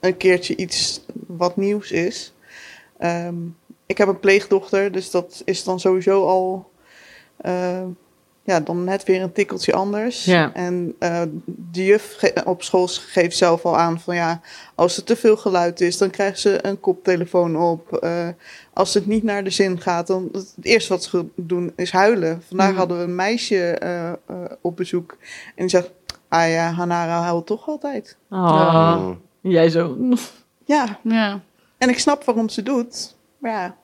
Speaker 13: een keertje iets wat nieuws is. Ehm, ik heb een pleegdochter, dus dat is dan sowieso al eh, ja, dan net weer een tikkeltje anders.
Speaker 4: Ja.
Speaker 13: En eh, de juf ge- op school geeft zelf al aan van ja, als er te veel geluid is, dan krijgen ze een koptelefoon op. Eh, als het niet naar de zin gaat, dan het eerste wat ze doen is huilen. Vandaag
Speaker 5: Mhm.
Speaker 4: Hmm.
Speaker 13: hadden we een meisje eh, eh, op bezoek en die zegt, ah ja, Hanara huilt toch altijd.
Speaker 4: Oh. Jij zo.
Speaker 13: Ja.
Speaker 5: ja.
Speaker 13: En ik snap waarom ze doet. Maar ja.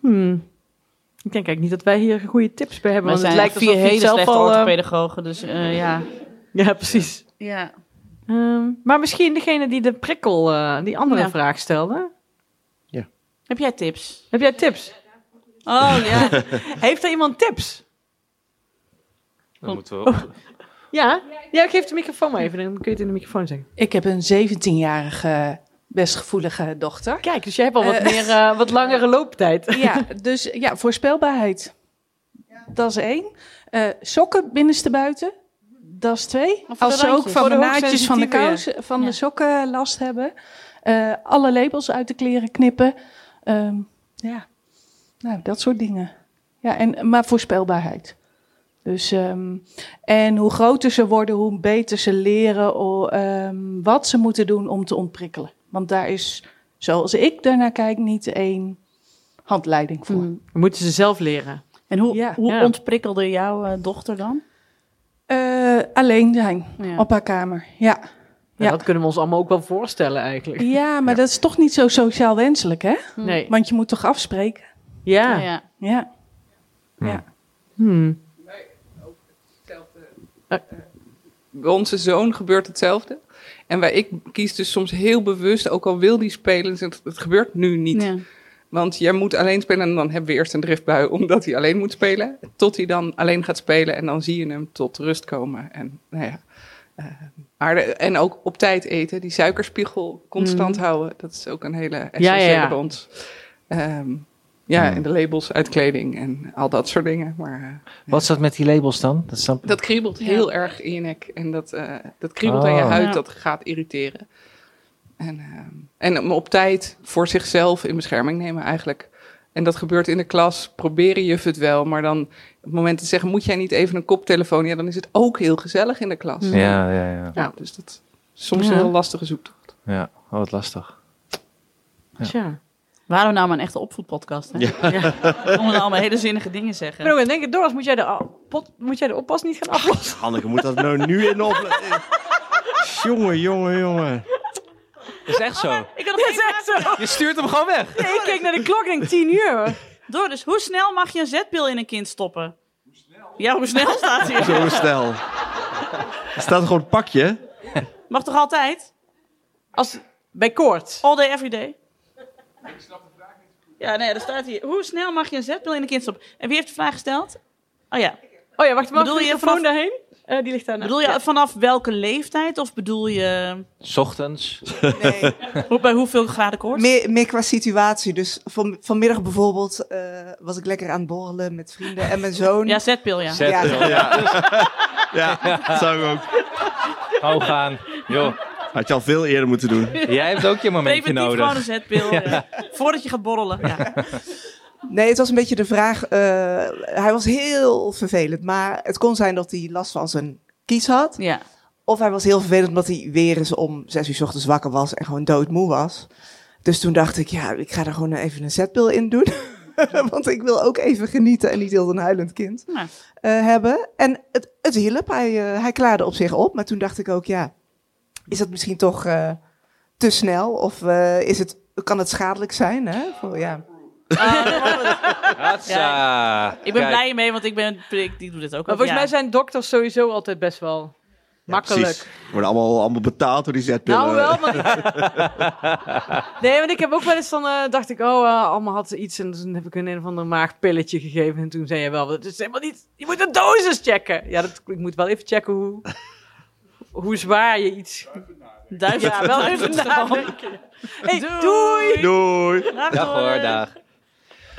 Speaker 4: Hmm. Ik denk eigenlijk niet dat wij hier goede tips bij hebben.
Speaker 5: We
Speaker 4: Want
Speaker 5: zijn
Speaker 4: het lijkt
Speaker 5: vier
Speaker 4: alsof je
Speaker 5: hele
Speaker 4: het zelf
Speaker 5: slechte
Speaker 4: al... eh,
Speaker 5: orthopedagogen, dus eh, ja.
Speaker 4: Ja, precies.
Speaker 5: Ja.
Speaker 4: Ehm, maar misschien degene die de prikkel, eh, die andere
Speaker 5: Ja.
Speaker 4: vraag stelde.
Speaker 5: Heb jij tips?
Speaker 4: Heb jij tips?
Speaker 5: Oh ja.
Speaker 4: Heeft er iemand tips?
Speaker 3: Dan moeten we op-
Speaker 4: Ja? Ja, geef de microfoon maar even. Dan kun je het in de microfoon zeggen.
Speaker 14: Ik heb een 17-jarige, best gevoelige dochter.
Speaker 4: Kijk, dus jij hebt al wat,
Speaker 14: Eh.
Speaker 4: meer, eh, wat langere looptijd.
Speaker 14: Ja, dus ja, voorspelbaarheid. Dat is één. Eh, sokken binnenste buiten. Dat is twee.
Speaker 5: Maar voor
Speaker 14: Als
Speaker 5: de
Speaker 14: ze ook
Speaker 5: randjes.
Speaker 14: van
Speaker 5: Voor
Speaker 14: de
Speaker 5: de
Speaker 14: naadjes van de
Speaker 5: hoogsensitieve,
Speaker 14: kousen,
Speaker 5: ja.
Speaker 14: van
Speaker 5: Ja.
Speaker 14: de sokken last hebben. Eh, alle labels uit de kleren knippen. Ehm, ja, nou, dat soort dingen. Ja, en, maar voorspelbaarheid. Dus, ehm, en hoe groter ze worden, hoe beter ze leren o- ehm, wat ze moeten doen om te ontprikkelen. Want daar is, zoals ik daarnaar kijk, niet één handleiding
Speaker 5: Mhm.
Speaker 14: voor.
Speaker 4: Moeten ze zelf leren.
Speaker 5: En hoe, hoe
Speaker 14: Ja.
Speaker 5: ontprikkelde jouw eh, dochter dan?
Speaker 14: Eh, alleen zijn,
Speaker 5: Ja.
Speaker 14: op haar kamer. Ja,
Speaker 4: Ja. Dat kunnen we ons allemaal ook wel voorstellen eigenlijk.
Speaker 14: ja maar dat is toch niet zo sociaal wenselijk, hè?
Speaker 4: Nee.
Speaker 14: Want je moet toch afspreken?
Speaker 4: Ja.
Speaker 5: Ja.
Speaker 14: Ja.
Speaker 4: Hmm.
Speaker 11: Eh, Bij onze zoon gebeurt hetzelfde. En wij, ik kies dus soms heel bewust, ook al wil die spelen, het, het gebeurt nu niet.
Speaker 5: Ja.
Speaker 11: Want jij moet alleen spelen en dan hebben we eerst een driftbui omdat hij alleen moet spelen. Tot hij dan alleen gaat spelen en dan zie je hem tot rust komen. En, nou ja, eh, maar de- en ook op tijd eten, die suikerspiegel constant
Speaker 4: Mhm.
Speaker 11: houden. Dat is ook een hele
Speaker 4: ja,
Speaker 11: essentiële
Speaker 4: ja.
Speaker 11: bij ons. Ehm, ja, en de labels uit kleding en al dat soort dingen. Maar eh,
Speaker 3: Wat is dat met die labels dan? Dat is dan...
Speaker 11: dat kriebelt heel erg in je nek. En dat, eh, dat kriebelt aan je
Speaker 3: Oh.
Speaker 11: huid,
Speaker 3: Ja.
Speaker 11: dat gaat irriteren. En, ehm, en om op tijd voor zichzelf in bescherming nemen eigenlijk. En dat gebeurt in de klas, proberen juf het wel. Maar dan op het moment te zeggen, moet jij niet even een koptelefoon? Ja, dan is het ook heel gezellig in de klas.
Speaker 3: Ja, ja, ja.
Speaker 11: Ja, dus dat is soms
Speaker 5: Ja.
Speaker 11: een heel lastige zoektocht.
Speaker 3: Ja, oh, wat lastig.
Speaker 4: Tja.
Speaker 5: Waarom nou maar een echte opvoedpodcast? Hè? Ja. Om dan allemaal hele zinnige dingen zeggen.
Speaker 4: Maar dan denk ik, Doris, moet jij de, a- pot, moet jij de oppas niet gaan aflossen?
Speaker 6: Hanneke moet dat nou nu in op... jongen, jongen, jongen.
Speaker 3: is echt zo.
Speaker 5: Ik had nog geen zo.
Speaker 3: Je stuurt hem gewoon weg.
Speaker 4: Nee, ik keek naar de klok en denk 10 uur.
Speaker 5: Door, dus hoe snel mag je een zetpil in een kind stoppen? Ja, hoe snel staat hier?
Speaker 6: Zo snel. Er staat gewoon een pakje.
Speaker 5: Mag toch altijd?
Speaker 4: Als, bij koorts.
Speaker 5: All day, every day. Ja, nee, er staat hier. Hoe snel mag je een zetpil in een kind stoppen? En wie heeft de vraag gesteld? Oh ja.
Speaker 4: Oh ja, wacht, mag
Speaker 5: Bedoel
Speaker 4: de
Speaker 5: je
Speaker 4: microfoon
Speaker 5: vanaf-
Speaker 4: daarheen? Eh, die ligt daar.
Speaker 5: Bedoel je vanaf welke leeftijd? Of bedoel je
Speaker 3: Ochtends.
Speaker 5: hoe- bij hoeveel graden koorts?
Speaker 15: Meer, meer qua situatie. Dus van, vanmiddag bijvoorbeeld eh, was ik lekker aan het borrelen met vrienden en mijn zoon.
Speaker 5: Ja, zetpil, ja.
Speaker 6: Zetpil, ja. Ja,
Speaker 3: dat
Speaker 6: zou ik ook.
Speaker 3: Hou gaan. Joh.
Speaker 6: Had je al veel eerder moeten doen.
Speaker 3: Jij hebt ook je momentje
Speaker 5: Preventief
Speaker 3: nodig.
Speaker 5: gewoon een zetpil. ja. Voordat je gaat borrelen. Ja.
Speaker 15: Nee, het was een beetje de vraag. eh, hij was heel vervelend, maar het kon zijn dat hij last van zijn kies had.
Speaker 5: Ja.
Speaker 15: Of hij was heel vervelend omdat hij weer eens om zes uur 's ochtends wakker was en gewoon doodmoe was. Dus toen dacht ik, ja, ik ga er gewoon even een zetpil in doen. Want ik wil ook even genieten en niet heel een huilend kind
Speaker 5: Nou.
Speaker 15: eh, hebben. En het, het hielp, hij, eh, hij klaarde op zich op. Maar toen dacht ik ook, ja, is dat misschien toch eh, te snel? Of eh, is het, kan het schadelijk zijn? Hè? Voor, ja.
Speaker 3: Hatsa.
Speaker 5: Ik ben
Speaker 3: Kijk.
Speaker 5: blij mee, want ik ben ik, die doe dit ook.
Speaker 4: Maar
Speaker 5: al,
Speaker 4: volgens
Speaker 5: ja.
Speaker 4: mij zijn dokters sowieso altijd best wel Makkelijk.
Speaker 6: Precies. Worden allemaal, allemaal betaald door die eh. zetpillen.
Speaker 4: Nou wel, maar Nee, want ik heb ook wel eens dan eh, dacht ik, oh, eh allemaal had ze iets en toen heb ik hun een of ander maagpilletje gegeven en toen zei je wel, dat is helemaal niet, je moet de dosis checken. Ja, dat, ik moet wel even checken hoe, hoe zwaar je iets.
Speaker 5: Duiven
Speaker 4: ja, wel even
Speaker 5: nadenken.
Speaker 4: nadenken. Hey, doei.
Speaker 6: Doei.
Speaker 4: Dag,
Speaker 3: Dag hoor,
Speaker 4: hoor.
Speaker 3: dag.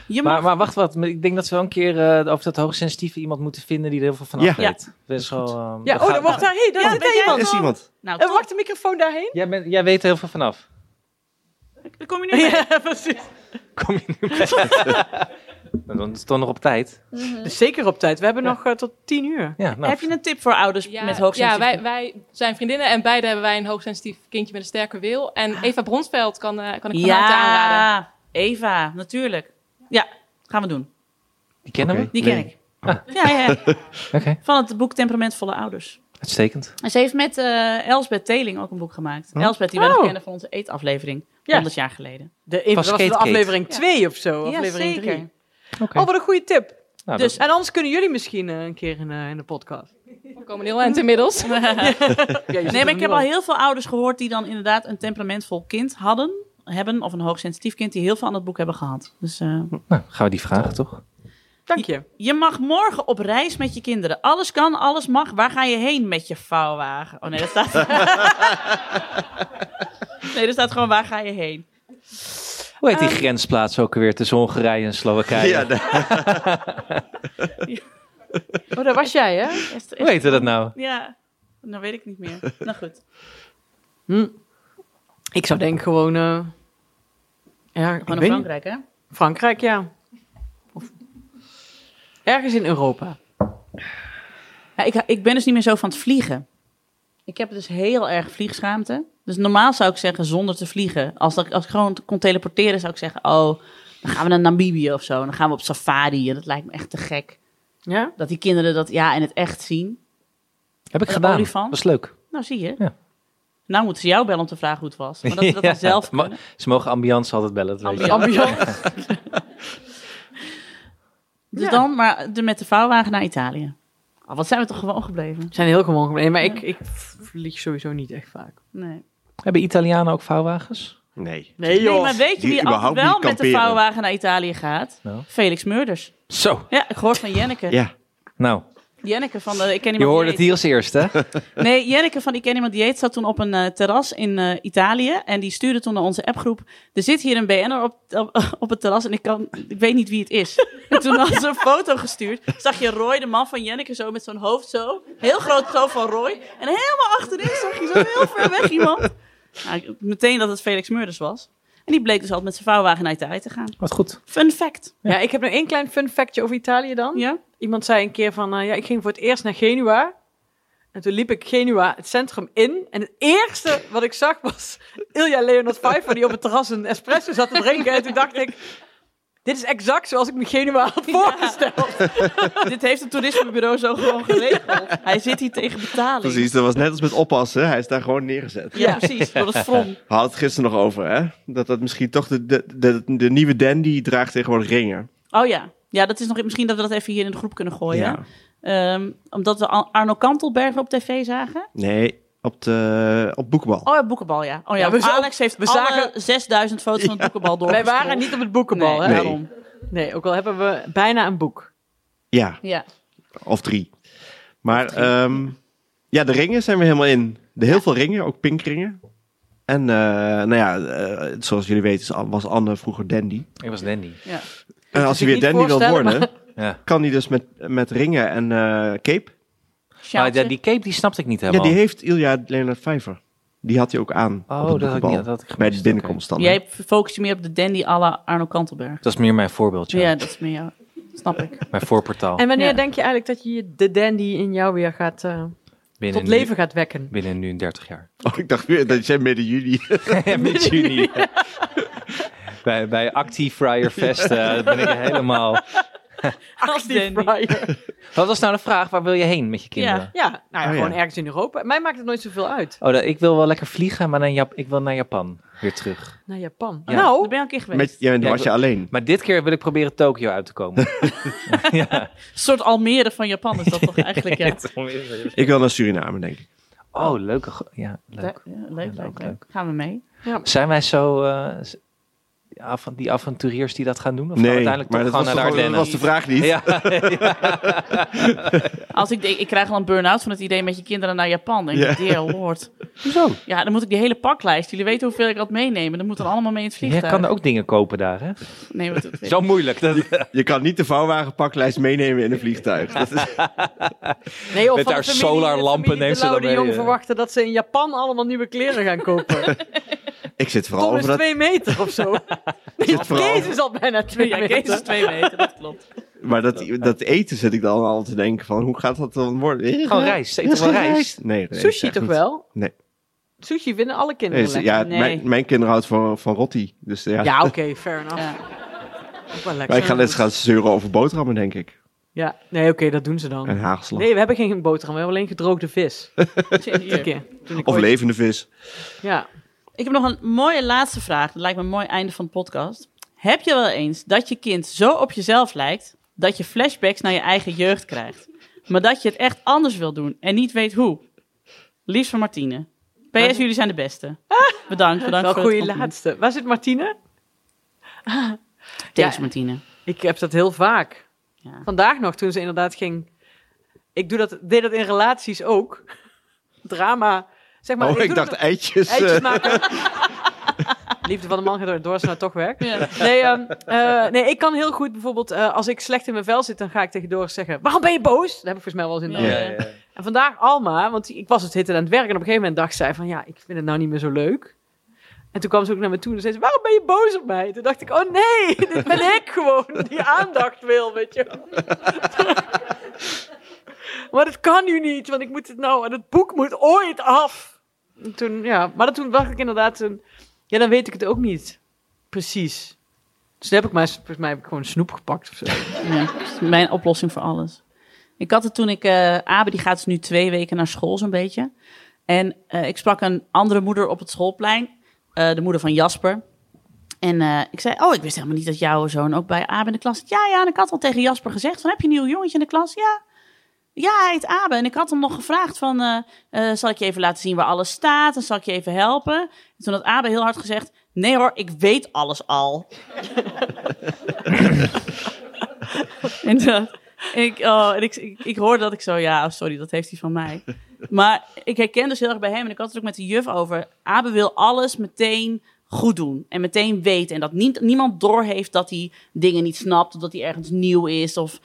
Speaker 5: Je
Speaker 3: Maar, maar wacht wat, maar ik denk dat we wel een keer eh, over dat hoogsensitieve iemand moeten vinden die er heel veel van
Speaker 6: Ja.
Speaker 3: af weet. Dat is wel, ehm,
Speaker 4: Ja,
Speaker 3: dat
Speaker 4: oh,
Speaker 3: gaat-
Speaker 4: dan wordt daar, hey, daar
Speaker 5: Ja,
Speaker 4: zit
Speaker 5: dat
Speaker 4: iemand.
Speaker 6: Er is iemand.
Speaker 5: Nou,
Speaker 4: en wacht de microfoon daarheen.
Speaker 3: Jij, bent, jij weet er heel veel vanaf.
Speaker 5: Daar kom je nu mee.
Speaker 4: Ja, precies.
Speaker 3: Kom je nu bij? Nou, Dan is het toch nog op tijd.
Speaker 4: Dus zeker op tijd. We hebben nog eh, tot tien uur.
Speaker 3: Ja, nou,
Speaker 5: Heb je een tip voor ouders
Speaker 16: Ja,
Speaker 5: met hoogsensitieve?
Speaker 16: Ja, wij, wij zijn vriendinnen en beide hebben wij een hoogsensitief kindje met een sterke wil. En Eva Bronsveld kan, eh, kan ik van harte aanraden.
Speaker 5: Ah. Ja, Eva, natuurlijk. Ja, gaan we doen.
Speaker 3: die kennen we?
Speaker 5: Die ken ik. Ja, ja, ja.
Speaker 3: Oké.
Speaker 5: Van het boek Temperamentvolle Ouders.
Speaker 3: Uitstekend.
Speaker 5: En ze heeft met eh Elsbeth Teling ook een boek gemaakt.
Speaker 3: Hm?
Speaker 5: Elsbeth, die we
Speaker 4: Oh.
Speaker 5: nog kennen van onze eetaflevering.
Speaker 4: Ja.
Speaker 5: 100 jaar geleden.
Speaker 4: De, dat was de aflevering 2 of zo,
Speaker 5: Ja,
Speaker 4: aflevering
Speaker 5: zeker.
Speaker 4: 3. Oh, wat een goede tip.
Speaker 3: Nou,
Speaker 4: dus, En anders kunnen jullie misschien eh, een keer in, eh, in de podcast.
Speaker 16: We komen heel eind inmiddels.
Speaker 5: nee, maar ik heb al heel veel ouders gehoord die dan inderdaad een temperamentvol kind hadden. Hebben, of een hoogsensitief kind, die heel veel aan het boek hebben gehad. Dus eh,
Speaker 3: Nou, gaan we die vragen toch?
Speaker 4: Dank je.
Speaker 5: je mag morgen op reis met je kinderen. Alles kan, alles mag. Waar ga je heen met je vouwwagen? Oh nee, dat staat... nee, er staat gewoon waar ga je heen.
Speaker 3: Hoe heet die
Speaker 5: Ehm,
Speaker 3: grensplaats ook alweer tussen Hongarije en Slowakije?
Speaker 6: Ja,
Speaker 4: Oh, daar was jij, hè?
Speaker 3: Hoe heette dat nou?
Speaker 5: Ja, nou weet ik niet meer. nou goed.
Speaker 4: Hm. Ik zou denken gewoon... eh, ja, ik
Speaker 5: Gewoon naar
Speaker 4: weet niet.
Speaker 5: Frankrijk, hè?
Speaker 4: Frankrijk, ja. Of- Ergens in Europa.
Speaker 5: Ja, ik, ik ben dus niet meer zo van het vliegen. Ik heb dus heel erg vliegschaamte. Dus normaal zou ik zeggen zonder te vliegen. Als, dat, als ik gewoon kon teleporteren zou ik zeggen... oh, dan gaan we naar Namibië of zo. En dan gaan we op safari. En dat lijkt me echt te gek.
Speaker 4: Ja?
Speaker 5: Dat die kinderen dat ja in het echt zien.
Speaker 3: Heb ik
Speaker 5: Een
Speaker 3: gedaan.
Speaker 5: olifant?
Speaker 3: Was leuk.
Speaker 5: Nou, zie je.
Speaker 3: Ja.
Speaker 5: Nou moeten ze jou bellen om te vragen hoe het was. Maar dat ze dat dan zelf
Speaker 3: Ja,
Speaker 5: kunnen.
Speaker 3: mo- Ze mogen ambiance altijd bellen. dat weet je.
Speaker 5: Ambiance. Dus
Speaker 4: Ja.
Speaker 5: dan maar de, met de vouwwagen naar Italië. Ah, wat zijn we toch gewoon gebleven?
Speaker 4: We zijn heel gewoon gebleven. Maar
Speaker 5: Ja.
Speaker 4: ik, ik vlieg sowieso niet echt vaak.
Speaker 5: Nee.
Speaker 3: Hebben Italianen ook vouwwagens?
Speaker 6: Nee.
Speaker 4: Nee, joh.
Speaker 5: Nee, maar weet je
Speaker 6: Die
Speaker 5: wie altijd
Speaker 6: überhaupt
Speaker 5: wel
Speaker 6: niet
Speaker 5: met de
Speaker 6: kamperen.
Speaker 5: vouwwagen naar Italië gaat?
Speaker 3: Nou.
Speaker 5: Felix Murders.
Speaker 3: Zo.
Speaker 5: Ja, ik hoor van Jenneke.
Speaker 6: Ja.
Speaker 3: Nou,
Speaker 5: Jenneke van de Ik ken
Speaker 3: je
Speaker 5: iemand
Speaker 3: hoorde
Speaker 5: die
Speaker 3: het hier als eerst, hè?
Speaker 5: Eet. Nee, Jenneke van Ik ken iemand die eet zat toen op een eh, terras in eh, Italië en die stuurde toen naar onze appgroep: "Er zit hier een BN'er op, op, op het terras en ik kan ik weet niet wie het is." En toen had ze een foto gestuurd. Zag je Roy, de man van Jenneke zo met zo'n hoofd zo, heel groot zo van Roy en helemaal achterin zag je zo heel ver weg iemand. Nou, ik- meteen dat het Felix Murders was. En die bleek dus altijd met zijn vouwwagen naar Italië te gaan.
Speaker 3: Wat goed.
Speaker 5: Fun fact.
Speaker 4: Ja, ik heb nog één klein fun factje over Italië dan.
Speaker 5: Ja?
Speaker 4: Iemand zei een keer van, eh, ja, ik ging voor het eerst naar Genua. En toen liep ik Genua het centrum in. En het eerste wat ik zag was Ilja Leonard Pfeiffer die op het terras een espresso zat te drinken. En toen dacht ik, dit is exact zoals ik me Genua had voorgesteld.
Speaker 5: Dit heeft het toerismebureau zo gewoon geregeld. Hij zit hier tegen betaling.
Speaker 6: Precies, dat was net als met oppassen. Hij is daar gewoon neergezet.
Speaker 5: Ja, precies. Door het front.
Speaker 6: We hadden het gisteren nog over, hè? Dat dat misschien toch de, de, de, de nieuwe dandy draagt tegenwoordig ringen.
Speaker 5: Oh ja. Ja, dat is nog, misschien dat we dat even hier in de groep kunnen gooien.
Speaker 6: Ja.
Speaker 5: Ehm, omdat we Ar- Arno Kantelberg op tv zagen.
Speaker 6: Nee, op, de, op boekenbal.
Speaker 5: Oh, ja, boekenbal, ja. Oh ja,
Speaker 4: Ja, we zo-
Speaker 5: Alex heeft
Speaker 4: we
Speaker 5: alle
Speaker 4: zagen-
Speaker 5: 6000 foto's van het boekenbal door.
Speaker 4: Wij waren niet op het boekenbal,
Speaker 5: Nee,
Speaker 4: hè?
Speaker 5: daarom.
Speaker 4: Nee, ook al hebben we bijna een boek.
Speaker 6: Ja,
Speaker 5: Ja.
Speaker 6: of drie. Maar ehm, ja, de ringen zijn we helemaal in. De heel veel ringen, ook pinkringen. En eh, nou ja, eh, zoals jullie weten is An- was Anne vroeger dandy.
Speaker 3: Ik was dandy.
Speaker 5: Ja.
Speaker 6: En Eh, als hij
Speaker 3: zich
Speaker 6: weer dandy
Speaker 3: niet
Speaker 6: wil
Speaker 3: voorstellen,
Speaker 6: worden,
Speaker 3: maar- Ja.
Speaker 6: kan hij dus met, met ringen en eh, cape.
Speaker 3: Maar ja, die cape die snapte ik niet
Speaker 6: Ja,
Speaker 3: helemaal.
Speaker 6: die heeft Ilja Leonard Vijver. Die had hij ook aan.
Speaker 3: Oh,
Speaker 6: op het
Speaker 3: dat had ik
Speaker 6: boekenbal.
Speaker 3: niet- dat had ik
Speaker 6: Bij de
Speaker 3: gemist,
Speaker 6: binnenkomst dan. hè.
Speaker 5: Jij focust je meer op de dandy à la Arno Kantelberg.
Speaker 3: Dat is meer mijn voorbeeldje.
Speaker 5: Ja, dat is meer jou. Snap ik.
Speaker 3: Mijn
Speaker 6: Oh,
Speaker 3: voorportaal.
Speaker 4: En wanneer
Speaker 5: Ja.
Speaker 4: denk je eigenlijk dat je de dandy in jou weer gaat, eh,
Speaker 3: Binnen
Speaker 4: tot
Speaker 3: nu-
Speaker 4: leven gaat wekken?
Speaker 3: Binnen nu 30 jaar.
Speaker 6: Oh, ik dacht weer dat jij midden juli.
Speaker 3: Met juni. bij, bij Acti Friar Fest eh, ben ik helemaal...
Speaker 4: Als dandy.
Speaker 3: Wat was nou de vraag? Waar wil je heen met je kinderen?
Speaker 4: Ja, ja, nou ja,
Speaker 3: Oh, ja.
Speaker 4: gewoon ergens in Europa. Mij maakt het nooit zoveel uit.
Speaker 3: Oh, dat, ik wil wel lekker vliegen, maar naar Jap- ik wil naar Japan weer terug.
Speaker 4: Naar Japan.
Speaker 3: Ja.
Speaker 4: Nou,
Speaker 5: Daar ben je al een keer geweest.
Speaker 6: Met, ja, en dan
Speaker 3: Ja,
Speaker 6: was je
Speaker 3: ik-
Speaker 6: alleen.
Speaker 3: Maar dit keer wil ik proberen Tokio uit te komen.
Speaker 5: Een soort Almere van Japan is dat toch eigenlijk, ja.
Speaker 3: Tom is er.
Speaker 6: Ik wil naar Suriname, denk ik.
Speaker 3: Oh, leuke. ge- Ja, leuk.
Speaker 5: Leuk, ja, leuk, leuk, leuk. Gaan we mee? Ja.
Speaker 3: Zijn wij zo eh, z- die ava- die avonturiers die dat gaan doen? Of gaan
Speaker 6: Nee,
Speaker 3: we uiteindelijk
Speaker 6: maar
Speaker 3: toch
Speaker 6: dat
Speaker 3: gewoon naar
Speaker 6: was
Speaker 3: de
Speaker 6: toch
Speaker 3: Ardennen?
Speaker 6: gewoon- dat was de vraag niet.
Speaker 5: Als ik, denk- ik krijg al een burn-out van het idee met je kinderen naar Japan. Denk ik,
Speaker 3: Ja.
Speaker 5: dear lord.
Speaker 6: Hoezo?
Speaker 5: Ja, dan moet ik die hele paklijst. Jullie weten hoeveel ik had meenemen. Dat moet dan allemaal mee in het
Speaker 3: Je
Speaker 5: vliegtuig.
Speaker 3: kan ook dingen kopen daar, hè?
Speaker 5: Nee, maar dat weet
Speaker 3: Zo moeilijk.
Speaker 6: Je, je kan niet de vouwwagenpaklijst meenemen in een vliegtuig. Dat is-
Speaker 4: Nee, of
Speaker 6: Met
Speaker 4: van
Speaker 6: haar
Speaker 4: de familie-
Speaker 6: solarlampen
Speaker 4: familie
Speaker 6: neemt
Speaker 4: De
Speaker 6: ze dan
Speaker 4: Lauwe de
Speaker 6: mee,
Speaker 4: Jong
Speaker 6: eh.
Speaker 4: verwachten dat ze in Japan allemaal nieuwe kleren gaan kopen.
Speaker 6: ik zit vooral
Speaker 4: Tom is
Speaker 6: over dat...
Speaker 4: twee meter of zo.
Speaker 6: ik zit vooral-
Speaker 4: Kees is al bijna twee
Speaker 5: Ja,
Speaker 4: meter.
Speaker 5: Kees is twee meter, dat klopt.
Speaker 6: Maar dat, dat eten zit ik dan al te denken van, hoe gaat dat dan worden? Eh,
Speaker 4: Gewoon rijst,
Speaker 6: eh,
Speaker 4: eet toch wel
Speaker 6: geen
Speaker 4: rijst?
Speaker 6: Nee, nee,
Speaker 4: Sushi
Speaker 6: echt
Speaker 4: toch
Speaker 6: niet.
Speaker 4: wel?
Speaker 6: Nee.
Speaker 4: Sushi vinden alle
Speaker 6: Nee,
Speaker 4: kinderen
Speaker 6: ze-
Speaker 4: lekker.
Speaker 6: ja, mijn, mijn kinderen houden van, van rotti. Dus ja.
Speaker 4: Ja, oké, fair enough. Ook wel lekker.
Speaker 6: Maar ik ga net gaan zeuren over boterhammen, denk ik.
Speaker 4: Ja, nee, oké, dat doen ze dan.
Speaker 6: En haagslag.
Speaker 4: Nee, we hebben geen boterham, we hebben alleen gedroogde vis. Dit keer, toen ik
Speaker 6: Of
Speaker 4: ooit-
Speaker 6: levende vis.
Speaker 4: Ja.
Speaker 5: Ik heb nog een mooie laatste vraag. Dat lijkt me een mooi einde van de podcast. Heb je wel eens dat je kind zo op jezelf lijkt dat je flashbacks naar je eigen jeugd krijgt, maar dat je het echt anders wil doen en niet weet hoe? Liefst van Martine. PS, jullie zijn de beste. Bedankt, bedankt
Speaker 4: Wel
Speaker 5: voor
Speaker 4: goeie
Speaker 5: het compliment.
Speaker 4: laatste. Waar zit Martine?
Speaker 5: Thanks, Martine.
Speaker 4: Ik heb dat heel vaak. Vandaag nog, toen ze inderdaad ging... Ik doe dat, deed dat in relaties ook. Drama. Zeg maar,
Speaker 6: Oh, ik
Speaker 4: doe
Speaker 6: dacht
Speaker 4: dat-
Speaker 6: eitjes,
Speaker 4: Eitjes
Speaker 6: eh.
Speaker 4: maken. Liefde van de man gaat door, door is nou toch werk. Nee, ehm, eh, nee, ik kan heel goed bijvoorbeeld... eh, als ik slecht in mijn vel zit, dan ga ik tegen Doris zeggen... Waarom ben je boos? Dat heb ik volgens mij wel eens in de
Speaker 2: Ja, ja, ja.
Speaker 4: En vandaag Alma, want ik was het hitte aan het werk... en op een gegeven moment dacht zij van... ja, ik vind het nou niet meer zo leuk. En toen kwam ze ook naar me toe en zei ze, waarom ben je boos op mij? Toen dacht ik, oh nee, dit ben ik gewoon die aandacht wil, weet je. maar dat kan nu niet, want ik moet het nou, en het boek moet ooit af. En toen, ja, maar dat, toen dacht ik inderdaad, een, ja, dan weet ik het ook niet. Precies. Dus toen heb ik maar, volgens mij heb ik gewoon snoep gepakt of zo.
Speaker 5: Ja, dat is mijn oplossing voor alles. Ik had het toen ik... eh Abe die gaat dus nu twee weken naar school zo'n beetje. En eh, ik sprak een andere moeder op het schoolplein. eh, de moeder van Jasper. En eh, ik zei, oh, ik wist helemaal niet dat jouw zoon ook bij Abe in de klas zit. Ja, ja, en ik had al tegen Jasper gezegd van, heb je een nieuw jongetje in de klas? Ja. Ja, hij heet Abe. En ik had hem nog gevraagd van, eh, eh, zal ik je even laten zien waar alles staat? En zal ik je even helpen? En toen had Abe heel hard gezegd, nee hoor, ik weet alles al. En, eh, ik, oh, en ik, ik, ik hoorde dat ik zo, ja, oh, sorry, dat heeft hij van mij. Maar ik herken dus heel erg bij hem, en ik had het ook met de juf over. Abe wil alles meteen goed doen en meteen weten. En dat niet, niemand doorheeft dat hij dingen niet snapt, of dat hij ergens nieuw is, of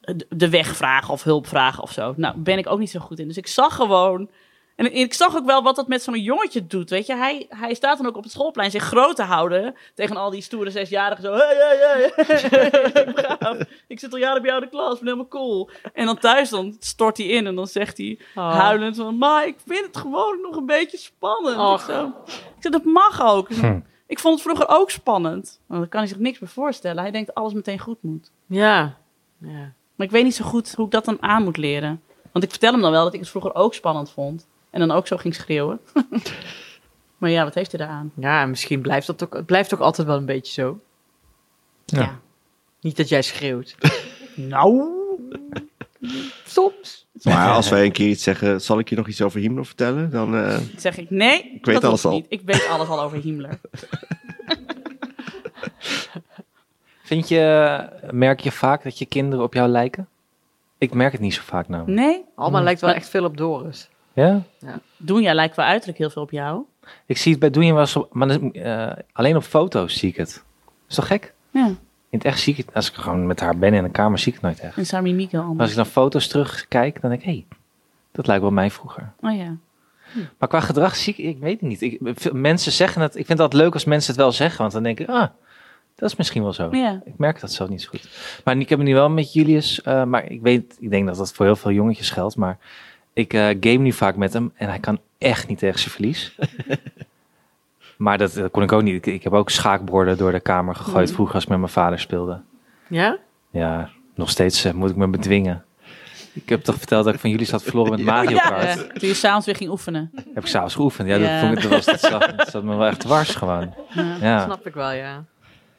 Speaker 5: de- de weg vragen of hulp vragen of zo. Nou, ben ik ook niet zo goed in. Dus ik zag gewoon. En ik zag ook wel wat dat met zo'n jongetje doet, weet je. Hij, hij staat dan ook op het schoolplein zich groot te houden tegen al die stoere zesjarigen. Zo, hey, hey, hey, ik zit al jaren bij jou in de klas, ben helemaal cool. En dan thuis dan stort hij in en dan zegt hij
Speaker 4: Oh.
Speaker 5: huilend van... Ma, ik vind het gewoon nog een beetje spannend.
Speaker 4: Och.
Speaker 5: Ik, zo, ik zeg, dat mag ook.
Speaker 4: Hm.
Speaker 5: Ik vond het vroeger ook spannend. Maar dan kan hij zich niks meer voorstellen. Hij denkt dat alles meteen goed moet.
Speaker 4: Ja. ja.
Speaker 5: Maar ik weet niet zo goed hoe ik dat dan aan moet leren. Want ik vertel hem dan wel dat ik het vroeger ook spannend vond. En dan ook zo ging schreeuwen. maar ja, wat heeft hij daaraan?
Speaker 4: Ja, en misschien blijft dat ook, het blijft ook altijd wel een beetje zo.
Speaker 3: Ja.
Speaker 4: Niet dat jij schreeuwt. nou, soms.
Speaker 6: Maar als wij een keer iets zeggen, zal ik je nog iets over Himno vertellen? Dan, eh,
Speaker 5: Dan zeg ik, nee,
Speaker 6: weet
Speaker 5: dat hoeft
Speaker 6: alles al.
Speaker 5: niet. Ik weet alles al over Himmler.
Speaker 3: Vind je, merk je vaak dat je kinderen op jou lijken? Ik merk het niet zo vaak namelijk.
Speaker 5: Nee?
Speaker 4: Alma lijkt wel
Speaker 5: Maar-
Speaker 4: echt veel op Doris.
Speaker 3: Ja?
Speaker 5: Doenja lijkt wel uiterlijk heel veel op jou.
Speaker 3: Ik zie het bij Doenje wel eens op, maar dat is, eh, alleen op foto's zie ik het. Is toch gek?
Speaker 5: Ja.
Speaker 3: In het echt zie ik het, als ik gewoon met haar ben in een kamer, zie ik het nooit echt.
Speaker 5: En Sami Mika
Speaker 3: Maar als
Speaker 5: anders.
Speaker 3: ik dan foto's terugkijk, dan denk ik, hé, hey, dat lijkt wel mij vroeger.
Speaker 5: Oh ja.
Speaker 3: Maar qua gedrag zie ik, ik weet het niet. Ik, veel mensen zeggen het, ik vind dat leuk als mensen het wel zeggen, want dan denk ik, ah, dat is misschien wel zo.
Speaker 5: Ja.
Speaker 3: Ik merk dat zelf niet zo goed. Maar ik heb het nu wel met Julius, eh, maar ik weet, ik denk dat dat voor heel veel jongetjes geldt, maar ik eh, game nu vaak met hem en hij kan echt niet tegen zijn verlies. maar dat, eh, kon ik ook niet. Ik, ik heb ook schaakborden door de kamer gegooid
Speaker 4: Mm.
Speaker 3: vroeger als ik met mijn vader speelde.
Speaker 4: Ja?
Speaker 3: Ja, nog steeds eh, moet ik me bedwingen. Ik heb toch verteld dat ik van jullie zat verloren met Mario Kart.
Speaker 5: Ja, toen je s'avonds weer ging oefenen.
Speaker 3: Heb ik s'avonds geoefend. Ja,
Speaker 5: Ja.
Speaker 3: Dat, vond ik, dat, was, dat, zat, dat zat me wel echt dwars gewoon.
Speaker 5: Ja,
Speaker 3: Ja.
Speaker 4: Dat snap ik wel, ja.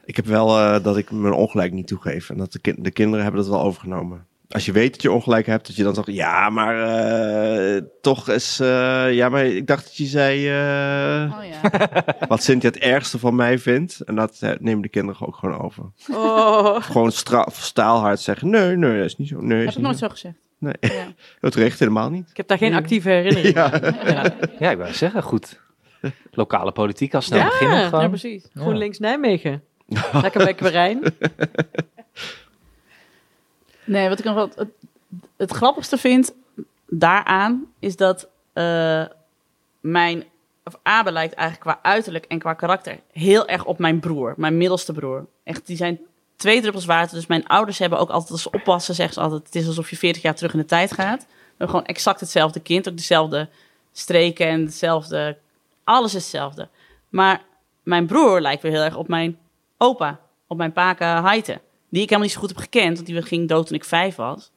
Speaker 6: ik heb wel eh, dat ik mijn ongelijk niet toegeef. En dat de, kin- de kinderen hebben dat wel overgenomen. Als je weet dat je ongelijk hebt, dat je dan zegt, ja, maar eh, toch is, eh, ja, maar ik dacht dat je zei eh,
Speaker 5: Oh,
Speaker 6: wat Cynthia het ergste van mij vindt. En dat eh, nemen de kinderen ook gewoon over.
Speaker 4: Oh.
Speaker 6: Gewoon stra- staalhard zeggen, nee, nee, dat is niet zo. Nee,
Speaker 5: Heb
Speaker 6: is
Speaker 5: ik
Speaker 6: niet
Speaker 5: nooit zo gezegd.
Speaker 6: Nee, dat recht helemaal niet.
Speaker 4: Ik heb daar geen actieve herinnering
Speaker 6: Ja.
Speaker 4: aan.
Speaker 3: Ja. ja, ik wou zeggen, goed. Lokale politiek al snel
Speaker 4: ja,
Speaker 3: beginnen gewoon.
Speaker 4: ja, precies.
Speaker 3: Ja.
Speaker 4: GroenLinks Nijmegen. Lekker bij Quirijn.
Speaker 5: Nee, wat ik nog wel het, het grappigste vind daaraan is dat eh, mijn of Abe lijkt eigenlijk qua uiterlijk en qua karakter heel erg op mijn broer, mijn middelste broer. Echt, die zijn twee druppels water. Dus mijn ouders hebben ook altijd als ze oppassen, zeggen ze altijd: het is alsof je 40 jaar terug in de tijd gaat. We hebben gewoon exact hetzelfde kind, ook dezelfde streken en hetzelfde. Alles is hetzelfde. Maar mijn broer lijkt weer heel erg op mijn opa, op mijn paka Haite. Die ik helemaal niet zo goed heb gekend, want die ging dood toen ik vijf was.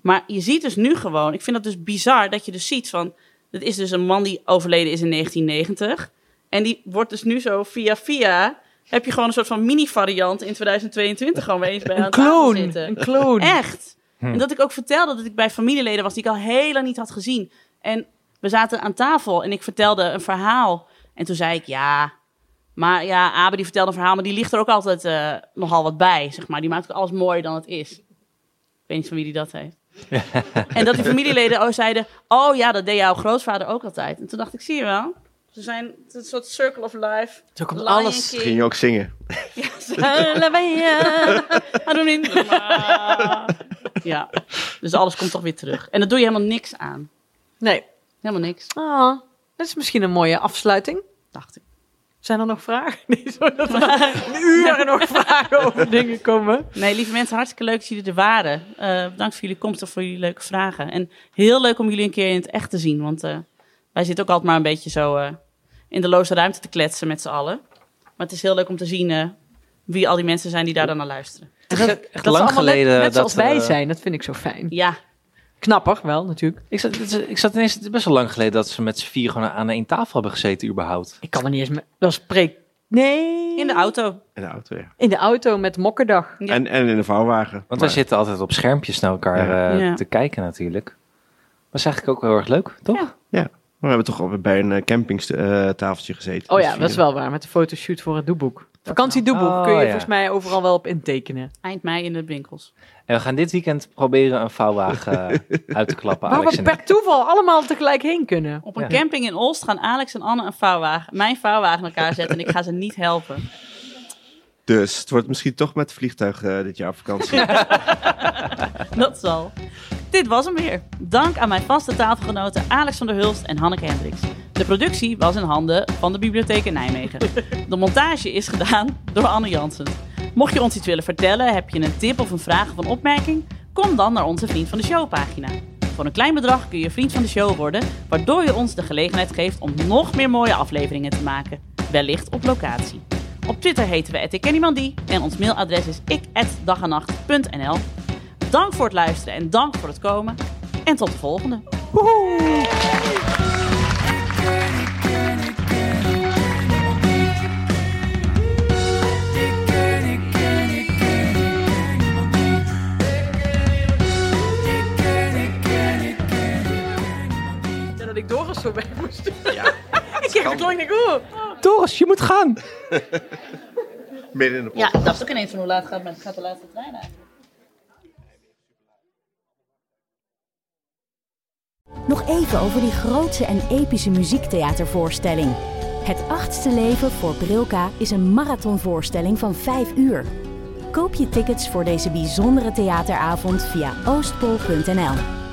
Speaker 5: Maar je ziet dus nu gewoon, ik vind dat dus bizar dat je dus ziet van, dat is dus een man die overleden is in 1990. En die wordt dus nu zo via via, heb je gewoon een soort van mini-variant in 2022 gewoon weer eens bij aan
Speaker 4: kloon,
Speaker 5: tafel zitten.
Speaker 4: een kloon.
Speaker 5: Echt.
Speaker 4: Hm.
Speaker 5: En dat ik ook vertelde dat ik bij familieleden was die ik al heel lang niet had gezien. En we zaten aan tafel en ik vertelde een verhaal. En toen zei ik, ja, maar ja, Abe die vertelde een verhaal, maar die ligt er ook altijd eh, nogal wat bij, zeg maar. Die maakt ook alles mooier dan het is. Ik weet niet van wie die dat heeft. En dat die familieleden ook zeiden, oh ja, dat deed jouw grootvader ook altijd. En toen dacht ik, zie je wel, ze zijn het is een soort circle of life.
Speaker 4: Zo komt
Speaker 5: Lion
Speaker 4: alles.
Speaker 5: King.
Speaker 6: Ging je ook zingen?
Speaker 5: Ja, dus alles komt toch weer terug. En daar doe je helemaal niks aan.
Speaker 4: Nee.
Speaker 5: Helemaal niks.
Speaker 4: Ah, dat is misschien een mooie afsluiting.
Speaker 5: Dacht ik.
Speaker 4: Zijn er nog vragen? Nee, sorry, dat er een uur nog vragen over dingen komen.
Speaker 5: Nee, lieve mensen, hartstikke leuk dat jullie er waren. Eh, bedankt voor jullie komst en voor jullie leuke vragen. En heel leuk om jullie een keer in het echt te zien. Want eh, wij zitten ook altijd maar een beetje zo eh, in de loze ruimte te kletsen met z'n allen. Maar het is heel leuk om te zien eh, wie al die mensen zijn die daar dan naar luisteren.
Speaker 4: echt
Speaker 3: lang geleden
Speaker 4: net
Speaker 3: dat,
Speaker 4: zoals wij
Speaker 3: eh,
Speaker 4: zijn, dat vind ik zo fijn.
Speaker 5: Ja.
Speaker 4: Knapper wel, natuurlijk.
Speaker 3: Ik zat, ik zat ineens, het is best wel lang geleden dat ze met z'n vier gewoon aan één tafel hebben gezeten überhaupt.
Speaker 4: Ik kan er niet eens mee. Dat is preek. Nee.
Speaker 5: In de auto.
Speaker 6: In de auto, ja.
Speaker 4: In de auto met mokkendag.
Speaker 6: En, en in de vouwwagen.
Speaker 3: Want
Speaker 6: Maar-
Speaker 3: wij zitten altijd op schermpjes naar elkaar
Speaker 6: Ja.
Speaker 3: eh,
Speaker 4: Ja.
Speaker 3: te kijken natuurlijk. Dat is eigenlijk ook wel heel erg leuk, toch?
Speaker 6: Ja, we hebben toch al bij een eh, campingtafeltje gezeten. Dus
Speaker 4: Oh
Speaker 6: met
Speaker 4: ja,
Speaker 6: z'n
Speaker 4: dat is
Speaker 6: vieren.
Speaker 4: wel waar. Met de fotoshoot voor het doeboek. Vakantiedoeboek
Speaker 3: Oh,
Speaker 4: kun je
Speaker 3: ja.
Speaker 4: volgens mij overal wel op intekenen.
Speaker 5: Eind mei in de winkels.
Speaker 3: En we gaan dit weekend proberen een vouwwagen eh, uit te klappen,
Speaker 6: Oh,
Speaker 4: Waar
Speaker 3: Alex
Speaker 4: we
Speaker 3: en
Speaker 4: per
Speaker 3: ik.
Speaker 4: toeval allemaal tegelijk heen kunnen.
Speaker 5: Op een camping in Olst gaan Alex en Anne een vouwwagen, mijn vouwwagen naar elkaar zetten. En ik ga ze niet helpen.
Speaker 6: Dus het wordt misschien toch met vliegtuig eh, dit jaar op vakantie.
Speaker 5: Dat zal. Dit was hem weer. Dank aan mijn vaste tafelgenoten Alex van der Hulst en Hanneke Hendricks. De productie was in handen van de Bibliotheek in Nijmegen. De montage is gedaan door Anne Jansen. Mocht je ons iets willen vertellen, heb je een tip of een vraag of een opmerking? Kom dan naar onze Vriend van de Show pagina. Voor een klein bedrag kun je Vriend van de Show worden, waardoor je ons de gelegenheid geeft om nog meer mooie afleveringen te maken. Wellicht op locatie. Op Twitter heten we @ikkenniemandie en ons mailadres is ik@dagenacht.nl. Dank voor het luisteren en dank voor het komen en tot de volgende.
Speaker 4: Ja, dat ik Doris zo weg moest. ik kreeg het lang, ik denk, oeh.
Speaker 3: Doris, je moet gaan!
Speaker 6: Midden in de
Speaker 5: Ja, ik dacht ook ineens van hoe laat gaat, men, gaat de laatste trein eigenlijk.
Speaker 1: Nog even over die grootse en epische muziektheatervoorstelling. Het achtste leven voor Brilka is een marathonvoorstelling van 5 uur. Koop je tickets voor deze bijzondere theateravond via oostpol.nl.